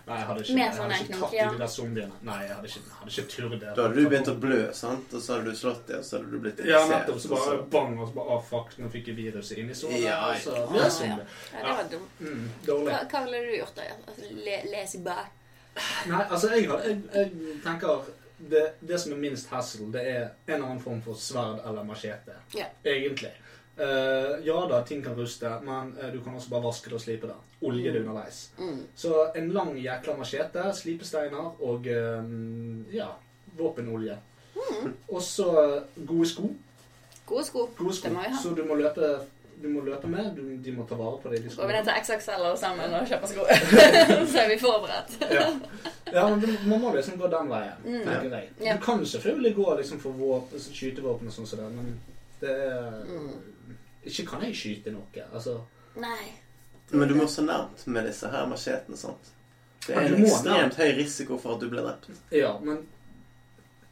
Nei, jeg hadde ikke,
Mer
jeg
sånn
hadde
en
ikke
knok,
tatt i
ja.
de der zombiene. Nei, jeg hadde ikke, hadde ikke tur det.
Da hadde du begynt å blø, sant? Og så hadde du slått det, og så hadde du blitt
Ja, nettopp. Så
og
bare
så-
bang, og så bare ah, fuck, nå fikk jeg viruset inn i sola.
Ja,
og så
ja.
ble jeg zombie.
Ja, det var dumt.
Mm, dårlig.
Hva, hva ville du gjort da? Altså, le, les i bæ?
Nei, altså, jeg, har- jeg, jeg tenker det, det som er minst hassle, det er en eller annen form for sverd eller machete.
Ja.
Egentlig. Eh, ja da, ting kan ruste, men eh, du kan også bare vaske det og slipe det. Olje det underveis.
Mm.
Så en lang jækla machete, slipesteiner og eh, ja, våpenolje. Og så eh, gode sko.
Gode sko.
Gode sko
Mm. Det må vi ha.
så du må løpe, du må løpe med. Du, de må ta vare på deg. de
Går vi
skoene.
ned til XXL alle sammen og kjøper sko? så er vi forberedt.
Ja. ja, men du- man må liksom gå den veien. tenker jeg.
Mm. Ja.
Du kan selvfølgelig gå liksom for våpen, skytevåpen og sånn, som det, men det er
Mm.
Ikke kan jeg skyte noe. altså...
Nei.
Men du må så nærmt med disse her machetene, sant? Det
Ja,
er
du
en
må
ekstremt
nærmt.
høy risiko for at du blir drept.
Ja, men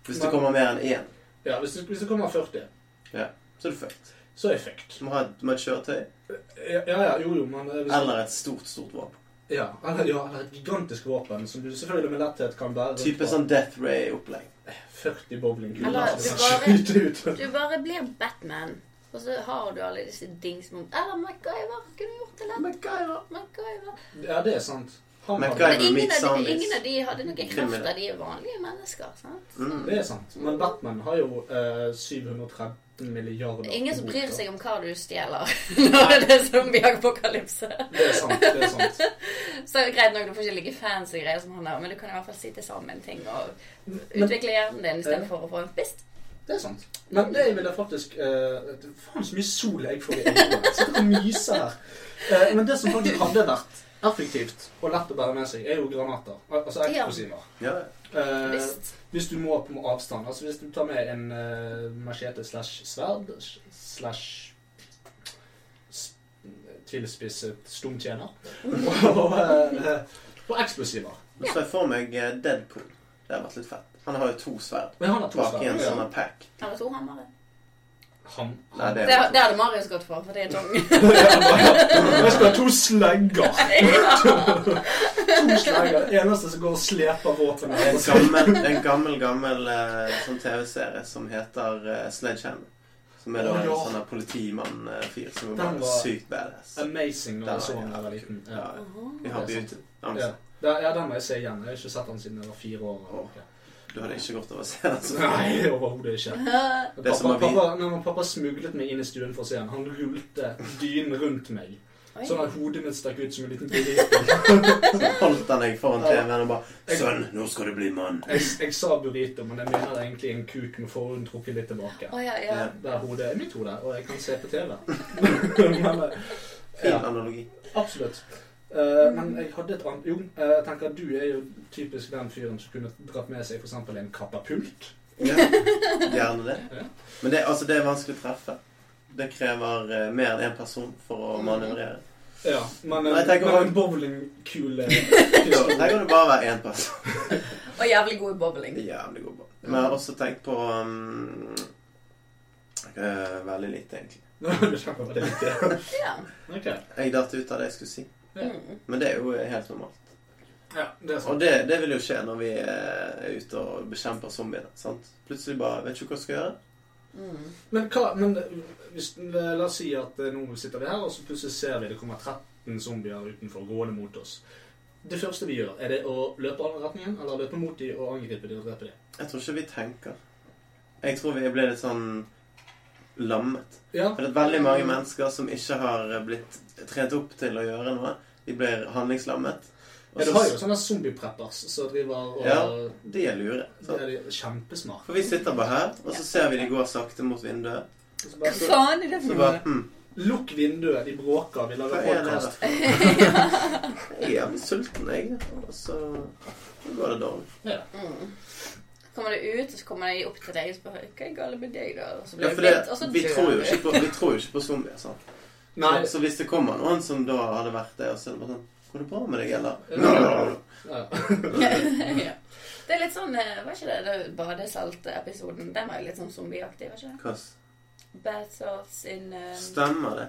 Hvis
Men-
det kommer mer enn én,
ja, hvis, det, hvis det kommer 40,
så er du fucked.
så er jeg fucked.
Du må ha et, du må ha et kjøretøy
Ja, ja, ja, jo, jo, men eh, hvis,
eller et stort, stort våpen.
ja, eller, ja, eller et gigantisk våpen som du selvfølgelig med letthet kan bære. rundt
Type
på.
sånn Death Ray-opplegg.
40 bowlingkuler
Eller
som
du
skal
bare-
skyte ut.
Du bare blir Batman. Og så har du alle disse dingsene. Eller MacGyver. Kunne gjort det lett.
MacGyver.
MacGyver.
Ja, det er sant. Han har-
MacGyver.
Men ingen
meet
av, de,
zombies.
ingen av de hadde noen krefter.
Kriminelle.
De er vanlige mennesker. sant? Så.
Mm.
Det er sant. Men Batman har jo eh, 713 milliarder
Det er Ingen som
på
bryr
boka.
seg om hva du stjeler når det er zombieapokalypse.
Det er sant. det er sant.
Så greit nok, du får ikke like fancy greier som han har, men du kan i hvert fall sitte sammen ting og utvikle hjernen din istedenfor å få en fist.
Det er sant. Men det vil jeg faktisk eh, Faen, så mye sol jeg får i øynene. Jeg sitter og myser her. Eh, men det som faktisk hadde vært effektivt og lett å bære med seg, er jo granater. Al altså
Ja.
eksplosiver.
Ja, ja.
Eh,
Visst.
hvis du må på avstand. Altså hvis du tar med en eh, machete slash sverd slash s- tilspisset stumtjener og, eh, og eksplosiver.
Men så jeg for meg eh, Deadpool. Det har vært litt fett. Han har jo to sverd
Men han har to
bak i en
sverd.
sånn
Ja.
her pack.
Eller to hammere.
Han.
Nei, det
Det,
er
det hadde Marius gått for, for det er tong.
Jeg skal ha to slegger. To slegger. Det eneste som går og sleper våpen. sånn
en gammel, en gammel, gammel eh, sånn TV-serie som heter uh, Sledgehammer. Som er da
Å,
en
ja.
sånn her politimann-fyr som er
Den
bare
var-
sykt badass.
Amazing
Den
når jeg så
var
den da jeg var
jævlig
liten.
Ja,
Ja.
ja. Vi har på
Det er
YouTube. Ja, men
Ja. Da- ja, den må jeg se igjen. Jeg har ikke sett den siden jeg var fire år. eller noe.
Du hadde ikke gått over å se den. så-
Nei, overhodet ikke.
Det som
Pappa,
er fint-
pappa, nei, men pappa smuglet meg inn i stuen for å se den. Han rullte dynen rundt meg. Sånn at hodet mitt stakk ut som en liten burrito.
Så holdt han deg foran
Ja.
TV-en og bare 'Sønn, nå skal du bli mann'.
Jeg, jeg sa burrito, men jeg mener egentlig en kuk med forhuden trukket litt tilbake.
Å ja, ja.
Ja.
Der hodet er mitt hode, og jeg kan se på TV. men, eh,
Fin
Ja.
analogi.
absolutt. Eh, men jeg hadde et annet Jo, eh, jeg tenker at du er jo typisk den fyren som kunne dratt med seg f.eks. en katapult.
Ja, gjerne det.
Ja.
Men det, altså, det er vanskelig å treffe. Det krever eh, mer enn én person for å
Mm.
manøvrere.
Ja, men en,
Nei, jeg tenker
men
også-
en bowlingkule
Så Her kan det bare være én person.
Og jævlig god i bowling.
Det er jævlig god ball. Men jeg har også tenkt på um, eh, Veldig lite, egentlig.
Nå har du skjønt hva det er.
Ja.
Ok.
Jeg datt ut av det jeg skulle si.
Mm.
Men det er jo helt normalt.
Ja, det er sant.
Og det, det vil jo skje når vi eh, er ute og bekjemper zombiene. sant? Plutselig bare Vet ikke hva jeg skal gjøre.
Mm.
Men hva men hvis, La oss si at eh, nå sitter vi her, og så plutselig ser vi det kommer 13 zombier utenfor gående mot oss. Det første vi gjør, er det å løpe alle retningen, eller løpe mot dem og angripe dem og drepe dem?
Jeg tror ikke vi tenker. Jeg tror vi ble litt sånn lammet.
Ja.
For det er veldig mange mennesker som ikke har blitt trent opp til å gjøre noe. De blir handlingslammet. Og
Ja, du
så-
har jo sånne zombie-preppers som driver og
Ja. De er lure.
Det
Sant?
er de kjempesmart.
For vi sitter bare her, og så ser vi de går sakte mot vinduet.
Og så
Hva
bare,
Altså.
så,
faen er det
Så
for
bare
noe?
hm,
lukk vinduet, de bråker, vi
Hva
lager
er det
podkast.
der? Jeg er jævlig sulten, jeg. Og så så går det dårlig.
Ja.
Mm. Kommer det ut, og så kommer de opp til deg og spør hva er galt med deg, da? Og så
Ja,
blir
for
du
det,
blitt, og så
vi,
dør
tror jo
du.
ikke på, vi tror jo ikke på zombier. sant?
Nei,
Så, så hvis det kommer noen som da hadde vært det, og så er det bare sånn Går det bra med deg, eller?
Ja. ja.
ja. Det er litt sånn eh, Var ikke det, det badesaltepisoden? Den var jo litt sånn zombieaktig, var ikke det?
Hva
Bad salts in, eh,
stemmer det?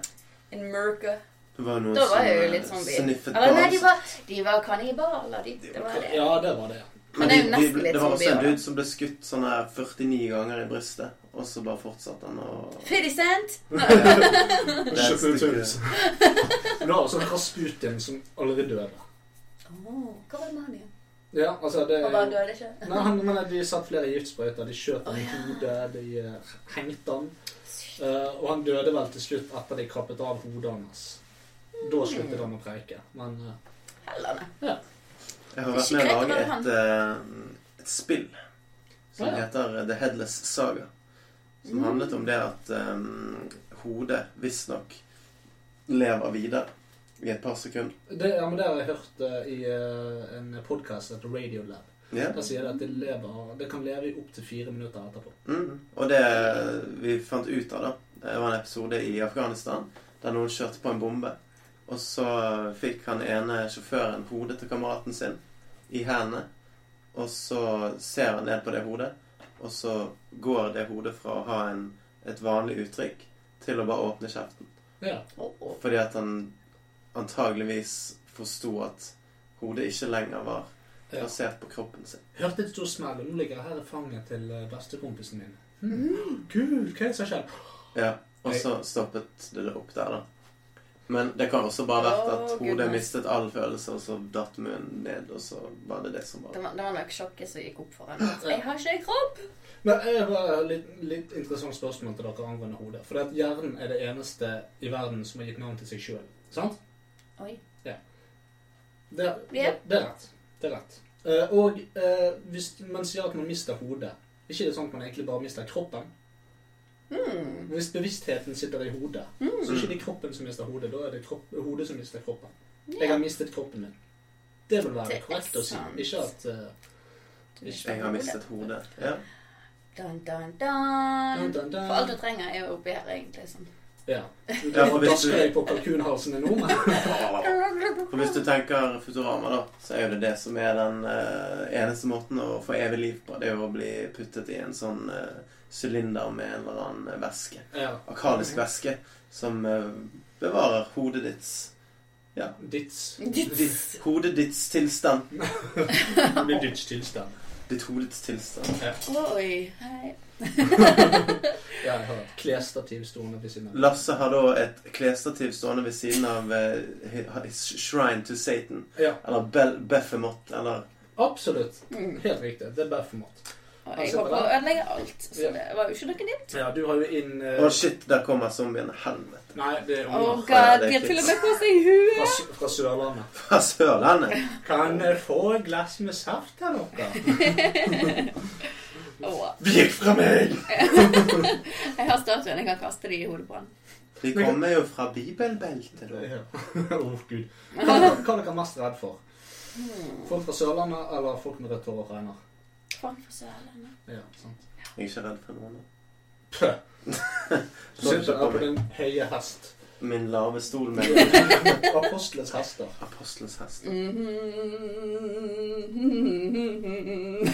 in Murka.
Det var jo noen
Da var jeg jo
som
litt
eh,
zombie.
sniffet
Eller nei,
barn,
de var, de var kannibaler, de. Det var det.
ja, det var det.
Men det er jo
de- de
nesten
ble-
litt
Det var også en
zombier, da.
dude som ble skutt sånn her 49 ganger i brystet, og så bare fortsatte han å
Fifty cent!
Og
Det er et
kjøpte ut
stykke-
huset. Men Du har også Rasputin som allerede døde.
Oh, hva var det med han igjen?
Ja, altså det er
Han bare
jo
døde ikke?
Nei, han, men De satt flere giftsprøyter. De skjøt ham i
Å, ja.
hodet, de eh, hengte ham. eh, og han døde vel til slutt etter de kappet av hodet hans. Da sluttet han å preike. Men eh,
Hellene.
Jeg har vært med å lage et, eh, et spill som
Ah, ja.
heter The Headless Saga. Som
Mm.
handlet om det at um, hodet visstnok lever videre i et par sekunder.
det, ja, men det har jeg hørt eh, i eh, en podkast etter Radiolab.
Ja.
Der sier de at det, lever, det kan leve i opptil fire minutter etterpå.
Mm. Og det vi fant ut av, da, det var en episode i Afghanistan der noen kjørte på en bombe. Og så fikk han ene sjåføren hodet til kameraten sin i hendene. Og så ser han ned på det hodet, og så går det hodet fra å ha en, et vanlig uttrykk til å bare åpne kjeften.
Ja.
Oh, oh.
Fordi at han antageligvis forsto at hodet ikke lenger var
Ja.
plassert på kroppen sin.
Hørte et stort smell, og nå ligger jeg her i fanget til eh, bestekompisen min. Mm. Gud, hva er det som skjer?
Ja, og så stoppet det det opp der, da. Men det kan også bare ha vært at
Å,
hodet
goodness.
mistet all følelse, og så datt munnen ned, og så var det det som var
Det var, det var nok sjokket som gikk opp for henne. at Jeg har ikke en kropp!
Men jeg har et litt, litt interessant spørsmål til dere angående hodet. For det at hjernen er det eneste i verden som har gitt navn til seg sjøl. Sant?
Oi.
Det, det,
Ja.
det er rett. Det er rett. Eh, og eh, hvis man sier at man mister hodet, ikke det sånn at man egentlig bare mister kroppen?
Hmm.
Hvis bevisstheten sitter i hodet,
Mm.
så er det ikke det kroppen som mister hodet. Da er det kropp, hodet som mister kroppen. Jeg
Ja.
har mistet kroppen min. Det vil
Det
være
er
korrekt å si.
sant.
Ikke at eh, ikke.
Jeg har mistet hodet. Ja.
Dun, dun, dun.
Dun, dun, dun.
For alt du trenger, er jo oppi her, egentlig. Sånn.
Ja.
Ja,
Da
for hvis
dasker
du-
jeg på kalkunhalsene nå, men
For hvis du tenker Futurama, da, så er jo det det som er den eh, eneste måten å få evig liv på. Det er jo å bli puttet i en sånn eh, sylinder med en eller annen eh, væske.
Ja.
Akadisk væske som eh, bevarer hodet ditts
Dits.
ditt, Hodet ditts tilstand.
Det blir ditch tilstand.
Ditt hodets tilstand.
Oi. Hei.
Ja, jeg har et klesstativ stående ved siden av.
Lasse har da et klesstativ stående ved siden av eh, hi- his Shrine to Satan.
Ja,
Eller Bel Befemot, eller
absolutt.
Mm.
Helt riktig. Det er bare format.
Og
Altså,
jeg håper å
bra.
ødelegge alt. Så
Ja.
det var jo ikke noe ditt.
Ja, du har jo inn eh,
Å, shit, der kommer zombien. Helvete.
Nei, det er
Å,
unger
Ja,
god,
det er
de har til og
kids.
med på seg huet.
fra, Sø- fra Sørlandet.
Fra Sørlandet.
Kan jeg få et glass med saft her noe?
Å,
Vik fra meg!
jeg har statuen. Jeg kan kaste de i hodet på han.
De kommer jo fra bibelbeltet, da.
Ja. Å, gud. Hva er dere- hva er dere mest redd for? Folk fra Sørlandet eller folk med rødt hår og fregner?
Faen for Sørlandet.
Ja, sant.
Jeg er ikke redd for noen.
Pøh! Du
Sånn
synes
som
jeg er
på
på
meg.
din høye hest.
Min lave stol med
Apostelens hester.
apostelens hest.
Mhm.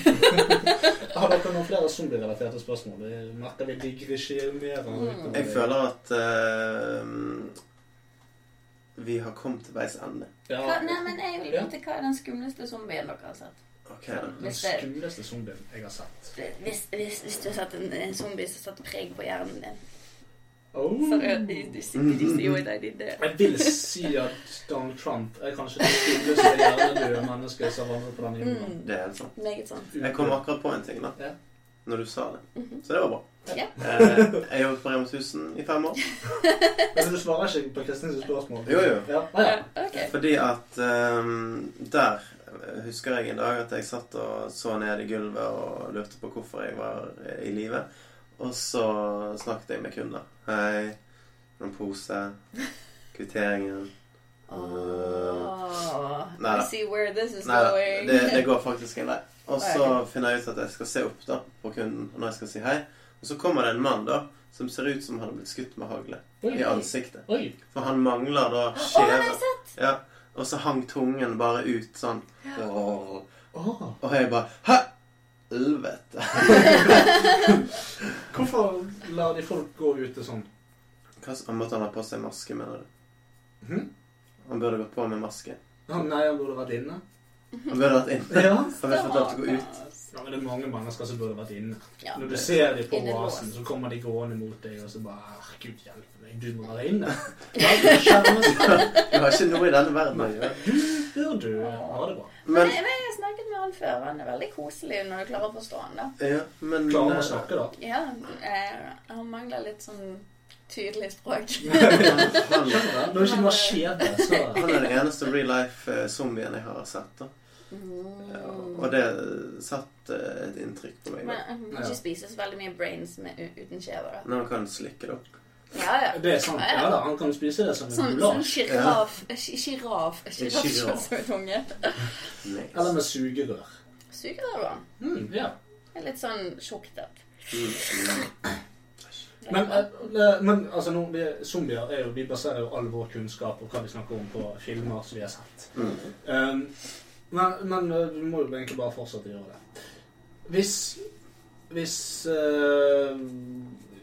Har dere noen flere zombie-relaterte spørsmål? Det merker vi digresjonerer. utover
Jeg
det.
føler at eh, vi har kommet til veis ende.
ja.
Hva- Nei, men jeg vil vite hva er den skumleste zombien dere har sett.
Ok, da.
Den skumleste zombien jeg har sett.
Hvis, hvis, hvis du har sett en, en zombie som satte preg på hjernen din
Oh.
Så er det- du sitter du sier what I did there.
Jeg vil si at Donald Trump er kanskje den skumleste hjernedøde mennesket som vandrer på denne jorden.
Mm,
Det er helt sant.
Meget sant.
Mm. Jeg kom akkurat på en ting da,
Ja.
når du sa det.
Mhm.
Så det var bra.
Ja.
Eh, jeg jobbet på Rema 1000 i fem år.
Men du svarer ikke på Kristins spørsmål?
Jo, jo.
Ja, ah, ja.
Ja, Ok.
Fordi at ehm, der husker jeg en dag at jeg satt og så ned i gulvet og lurte på hvorfor jeg var i live. Og så snakket jeg med kunder. Hei, noen pose, kvitteringen.
Åh,
Nei.
I see where this is
Nei,
going.
det, det går faktisk en vei. Og så finner jeg ut at jeg skal se opp da på kunden når jeg skal si hei. Og så kommer det en mann da som ser ut som han har blitt skutt med hagle i
Oi.
ansiktet.
Oi.
For han mangler da
Åh, den har jeg
skjeve.
sett!
Ja, og så hang tungen bare ut sånn. Åh.
Ah.
Og jeg bare Hæ? Helvete.
Hvorfor lar de folk gå ute sånn?
Hva s- Måtte han ha på seg maske, mener du?
Hm?
Han burde gått på med maske.
Han, nei, han burde vært inne.
Han burde vært inne.
Ja.
Han burde fått lov til å gå ut.
Stakkars.
ja, men det er mange mennesker som burde vært inne.
Ja.
Når du ser dem på
Inne i
oasen,
lås.
så kommer de gående mot deg, og så bare «Ah, Gud hjelpe meg, du må være inne. Ja, du skjermer seg.
Du har ikke noe i denne verden å gjøre.
Bør du ha det bra?
Men,
Men
men jeg har snakket med han før. Han er veldig koselig når du klarer å forstå han, da.
ja, men
Klarer han
eh,
å snakke, da?
Ja, eh, han mangler litt sånn tydelig språk.
han,
Skjønner du? Når ikke du har skjeve, så
han er den eneste real life-zombien jeg har sett. da.
Mm.
Og det satt eh, et inntrykk på meg.
Men
da.
han kan
Ja.
ikke spise så veldig mye brains med, u- uten kjever. da.
Når han kan slikke det opp.
Ja, ja.
Det er sant. Ja da, han kan spise det som en
Sånn, sånn
gulasj.
sjiraff Sjiraff
giraff.
som er tunge.
Eller
Nice.
med sugerør.
Sugerør, da.
Mm, ja.
Det er Litt sånn tjukt. da.
Mm, mm.
Men, eh, men altså, nå, vi, zombier er jo, vi baserer jo all vår kunnskap og hva vi snakker om, på filmer som vi har sett.
Mm.
Um, men, men eh, vi må jo egentlig bare fortsette å gjøre det. Hvis Hvis eh,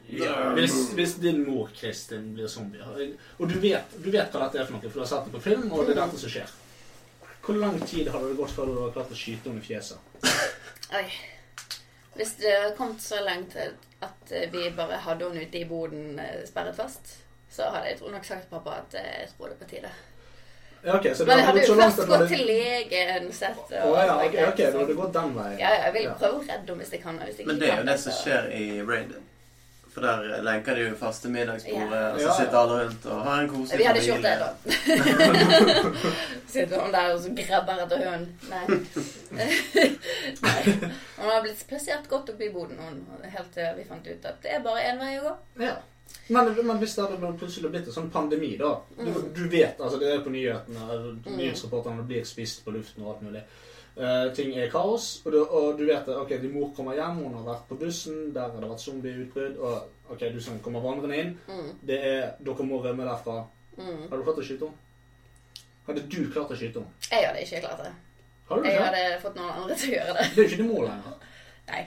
ja, hvis, hvis din mor, Kristin, blir zombie Og du vet, du vet hva dette er for noe, for du har sett det på film, og det er dette som skjer. Hvor lang tid hadde det gått før du hadde klart å skyte henne i fjeset?
Oi. Hvis det hadde kommet så langt at eh, vi bare hadde henne ute i boden eh, sperret fast, så hadde jeg tro- nok sagt til pappa at eh, jeg tror det var på tide.
Ja, ok, så det
Men jeg
hadde
hadde
gått
jo
så langt
først
at du
gått
hadde-
til legen sett
Å ja, ok, ok, det hadde gått den veien.
Ja, ja, jeg vil
Ja.
prøve å redde henne hvis jeg kan. og Hvis jeg
Men
ikke
det er jo
kan,
det som
så-
skjer i Raiden. For der lenker de jo fast til middagsbordet,
Ja.
og
Ja.
så sitter alle rundt og har en koselig
Vi hadde ikke gjort det, da. Sitter hun der og så grabber etter hunden. Nei. Nei. Hun har blitt plassert godt oppi boden, hun, helt til vi fant ut at det er bare én vei å gå.
Ja. Men, men hvis det hadde bare plutselig blitt en sånn pandemi, da Du,
Mm.
du vet, altså det er på nyhetene, eller nyhetsreporterne blir spist på luften og alt mulig. Eh, ting er kaos, og du, og du vet det. Ok, din mor kommer hjem, hun har vært på bussen, der har det vært zombieutbrudd, og ok, du som kommer vandrende inn,
Mm.
det er Dere må rømme derfra.
Mm.
Har du klart å skyte henne? Hadde du klart å skyte henne?
Jeg hadde ikke klart det.
Har du
Jeg
ikke?
hadde fått noen andre til å gjøre det.
Det er jo ikke det målet lenger.
Nei.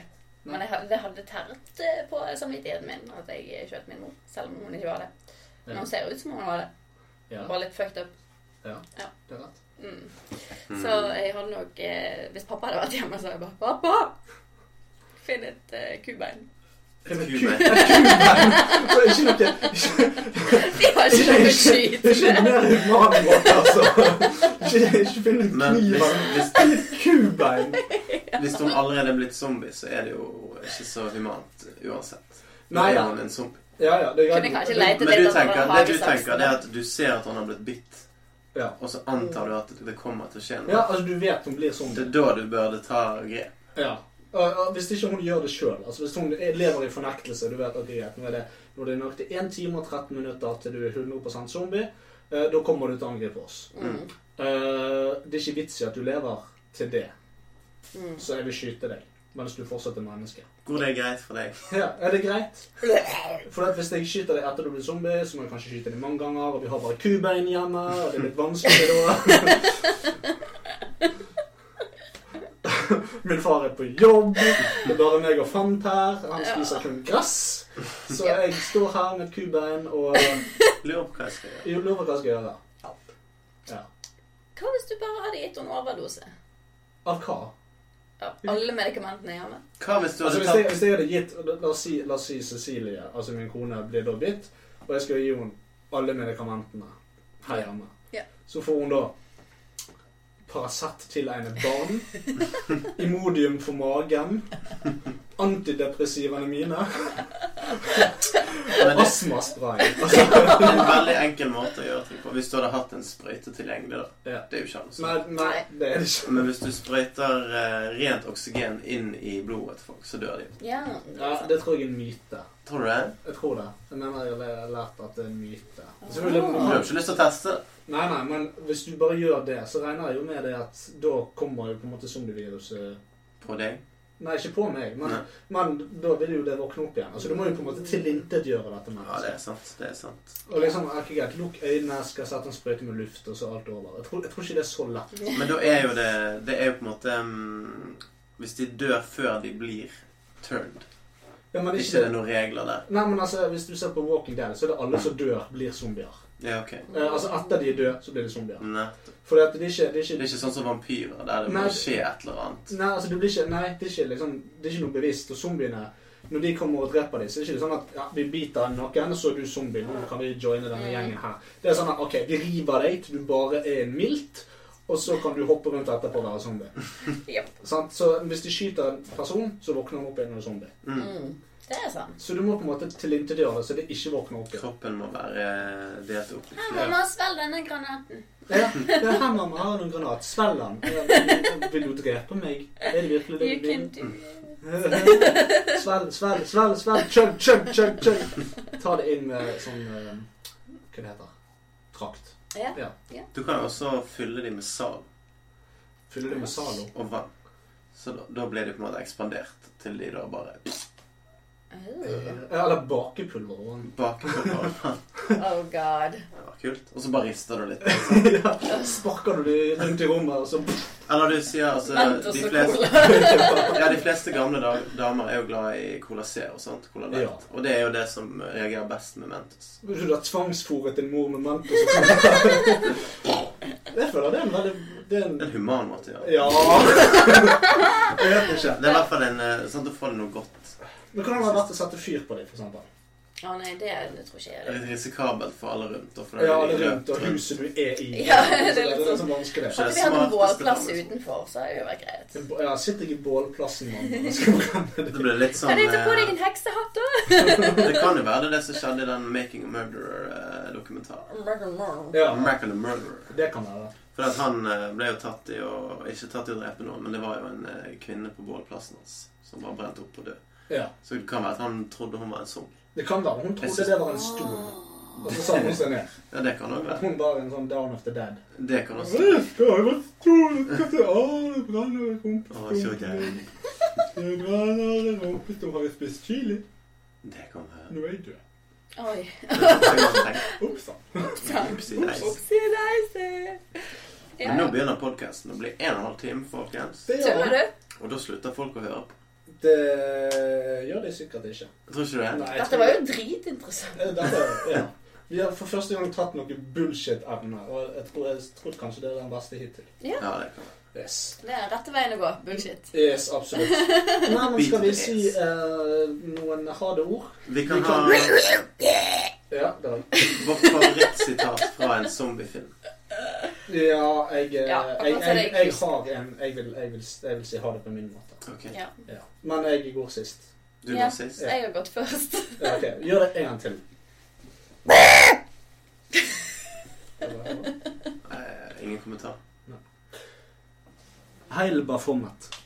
Men jeg hadde, det hadde tært eh, på samvittigheten min at jeg skjøt min mor, selv om hun ikke var det. Men
Ja.
hun ser ut som om hun var det.
Ja.
Bare litt fucked up.
ja.
Ja.
Det er rett.
Mm. Så jeg hadde nok eh, Hvis pappa hadde vært hjemme, så hadde jeg bare Pappa! Finn et eh, kubein.
Det er
Kul,
kul.
nei.
Så ikke noe ikke-
De har ikke noe
Ikke
skyt.
ikke en mer human måte, altså. Ikke, ikke finne
Men hvis,
kniven.
hvis,
Kubein.
hvis hun allerede er blitt zombie, så er det jo ikke så humant uansett. Da
Nei,
er
ja.
hun en zombie.
Ja, ja, det er greit.
Kunne kanskje
Det-
leite
Men
litt
du
at han har
tenker, det du
hagesaksen,
tenker, det
da.
er at du ser at han har blitt bitt,
Ja.
og så antar du at det kommer til å skje
ja,
noe.
altså, du vet hun blir
Det
sånn.
er da du burde ta grep.
Ja. Og, og hvis ikke hun gjør det sjøl, altså hvis hun lever i fornektelse Du vet at greit, nå er det, nå er det nok til 1 time og 13 minutter til du er 100 zombie. eh, da kommer du til å angripe oss.
Mm.
Eh, det er ikke vits i at du lever til det,
Mm.
så jeg vil skyte deg mens du fortsatt er menneske.
Går det greit for deg?
Ja, er det greit? For at hvis jeg skyter deg etter du blir zombie, så må jeg kanskje skyte deg mange ganger, og vi har bare kubein hjemme, og det er litt vanskelig da. Min far er på jobb, det er bare meg og Fant her, han spiser kun gress. Så jeg står her med et kubein og eh,
Lurer på hva jeg skal gjøre.
jeg lurer på hva jeg skal gjøre. Ja.
Hva hvis du bare hadde gitt henne overdose?
Av hva?
Av alle medikamentene hjemme?
Hva hvis
Altså,
du hadde
hvis, jeg,
tatt
hvis jeg hadde gitt la, la, oss si, la oss si Cecilie, altså min kone, blir da bitt, og jeg skal gi henne alle medikamentene her hjemme,
Ja.
så får hun da Paracet tilegnet barn, Imodium for magen, antidepressivaene mine
Men
og
det
astmaspray.
det er en veldig enkel måte å gjøre ting på. Hvis du hadde hatt en sprøyte tilgjengelig, da.
Ja.
Det er jo ikke annet.
Nei, nei, det er det ikke.
Men hvis du sprøyter eh, rent oksygen inn i blodet til folk, så dør de.
Ja.
Ja, det tror jeg er en myte.
Tror du det?
Jeg tror det. Jeg mener jeg har lært at det er en myte.
Du har jo ikke lyst til å teste det.
Nei, nei, men hvis du bare gjør det, så regner jeg jo med det at da kommer jo på en måte zombieviruset
på deg.
Nei, ikke på meg, men,
Nei.
men da vil jo det våkne opp igjen. Altså, Du må jo på en måte tilintetgjøre dette
Ja, det er
mennesket.
sant. Det er sant.
og liksom, ikke greit, Lukk øynene, skal sette en sprøyte med luft, og så er alt over. Jeg tror, jeg tror ikke det er så lett.
Men da er jo det Det er jo på en måte mm, Hvis de dør før de blir turned
Ja, men
Ikke det er noen regler der.
Nei, men altså, Hvis du ser på Walking Dead, så er det alle som dør, blir zombier.
Ja, ok.
Eh, altså, Etter de er døde, så blir de zombier.
Nei.
Fordi at det er ikke, det er
Det er
ikke
ikke sånn som vampyrer, der det må
Nei.
skje et eller annet.
Nei, altså, det blir ikke, nei, det er ikke, liksom, det er ikke noe bevisst. Og zombiene, når de kommer og dreper dem, så er det ikke sånn at ja, vi biter noen, så er du zombie. Nå kan vi joine denne gjengen her. Det er sånn at ok, vi river deg til du bare er en milt, og så kan du hoppe rundt etterpå og være zombie.
Ja.
Sant? Så hvis de skyter en person, så våkner han opp igjen og er zombie.
Mm. Det er sant.
Så du må på en måte tilintetgjøre det, så det ikke våkner opp igjen.
Kroppen må være delt opp i
Her,
flere.
mamma, svelg denne granaten.
Ja, det er her mamma har en granat. Svelg den. Ja, Vil du drepe meg? Er det virkelig det
You
du vil?
can do it.
Svelg, svelg, svelg, svelg, chug, chug, chug, chug. Ta det inn med sånn eh, Hva det heter Trakt.
Ja.
Ja.
Du kan jo også fylle de med sal
Fyller det med Zalo.
og vann. Så da, da blir de på en måte ekspandert til de da bare
Oh,
Ja, Eller bakepulver. og en-
baker på bare vann.
oh god.
Det var kult. Og så bare rister du litt.
ja, sparker du det rundt i rommet, og så
Eller du sier altså
Vent, og
de
så
fleste,
cola.
Ja, de fleste gamle da- damer er jo glad i Cola Zero, sant? Cola Light.
Ja.
Og det er jo det som reagerer best med Mentos.
Hvis du har tvangsfôret din mor med mentos og sånn. Jeg føler det er en veldig Det er
Det er en
en
human måte å gjøre det.
Ja. Jeg vet ikke.
Det er i hvert fall en, eh, sånn at du får noe godt.
Men hvordan har det vært å sette fyr på dem, for eksempel?
Å nei, det, det tror ikke jeg er
Det er
det.
litt eh, risikabelt for alle rundt. Og for det er
Ja, alle
litt
rundt og
rundt.
huset du er i.
Ja, det
Så
er litt
det er
sånn-
så vanskelig.
Hadde vi hatt en bålplass utenfor, så hadde det jo vært greit.
Ja, sitter ikke i bålplassen, mann. og skal brenne
Det
det.
blir litt sånn
Kan jeg ta på deg
eh,
en heksehatt, da?
Det kan jo være det, er det som skjedde i den Making a eh, Murderer-dokumentaren.
Ja,
Making a Murderer.
det kan være.
For at han eh, ble jo tatt i å Ikke tatt i å drepe noen, men det var jo en eh, kvinne på bålplassen hans som var brent opp og død.
Ja.
Så det kan være at han trodde hun var en zombie.
Det kan være. Hun
Jeg
trodde
synes-
det var en stol. Og så sa hun seg ned.
Ja, det kan òg være.
Hun var en sånn down of the dead.
Det kan også være. Å, så
Jeg
gøy.
har jeg spist chili?
Det kan være.
Nå er jeg død.
Oi.
Ops da.
Sånn.
Upsi deis.
Opsi, deisi. Ja,
Men nå
ja.
begynner podkasten å bli en og en halv time, folkens.
Det gjør
Tuller
jeg.
du?
Og da slutter folk å høre på.
Det gjør det sikkert ikke.
Jeg tror ikke det.
Nei, jeg
Dette
tror-
var jo dritinteressant.
Eh, Dette, ja. Vi har for første gang tatt noen bullshit-evne, og jeg tror, jeg tror kanskje det er den beste hittil.
Ja, det kan være.
Yes.
Det er rette veien å gå. Bullshit.
Yes, absolutt. Nei, men skal vi si eh, noen ha det-ord?
Vi kan
Vi
ha
kan- Ja, det var
vårt favorittsitat fra en zombiefilm.
Ja, jeg, eh,
Ja,
jeg,
akkurat så er
jeg,
det
jeg
kult.
har en jeg vil, jeg, vil, jeg vil si ha det på min måte.
Ok,
Ja.
Ja. Men jeg går sist.
Du
Ja.
går sist.
Jeg har gått først.
Ja, ok, Gjør det en gang til. Det var-
Eh, ingen kommentar.
Heil Baphomet.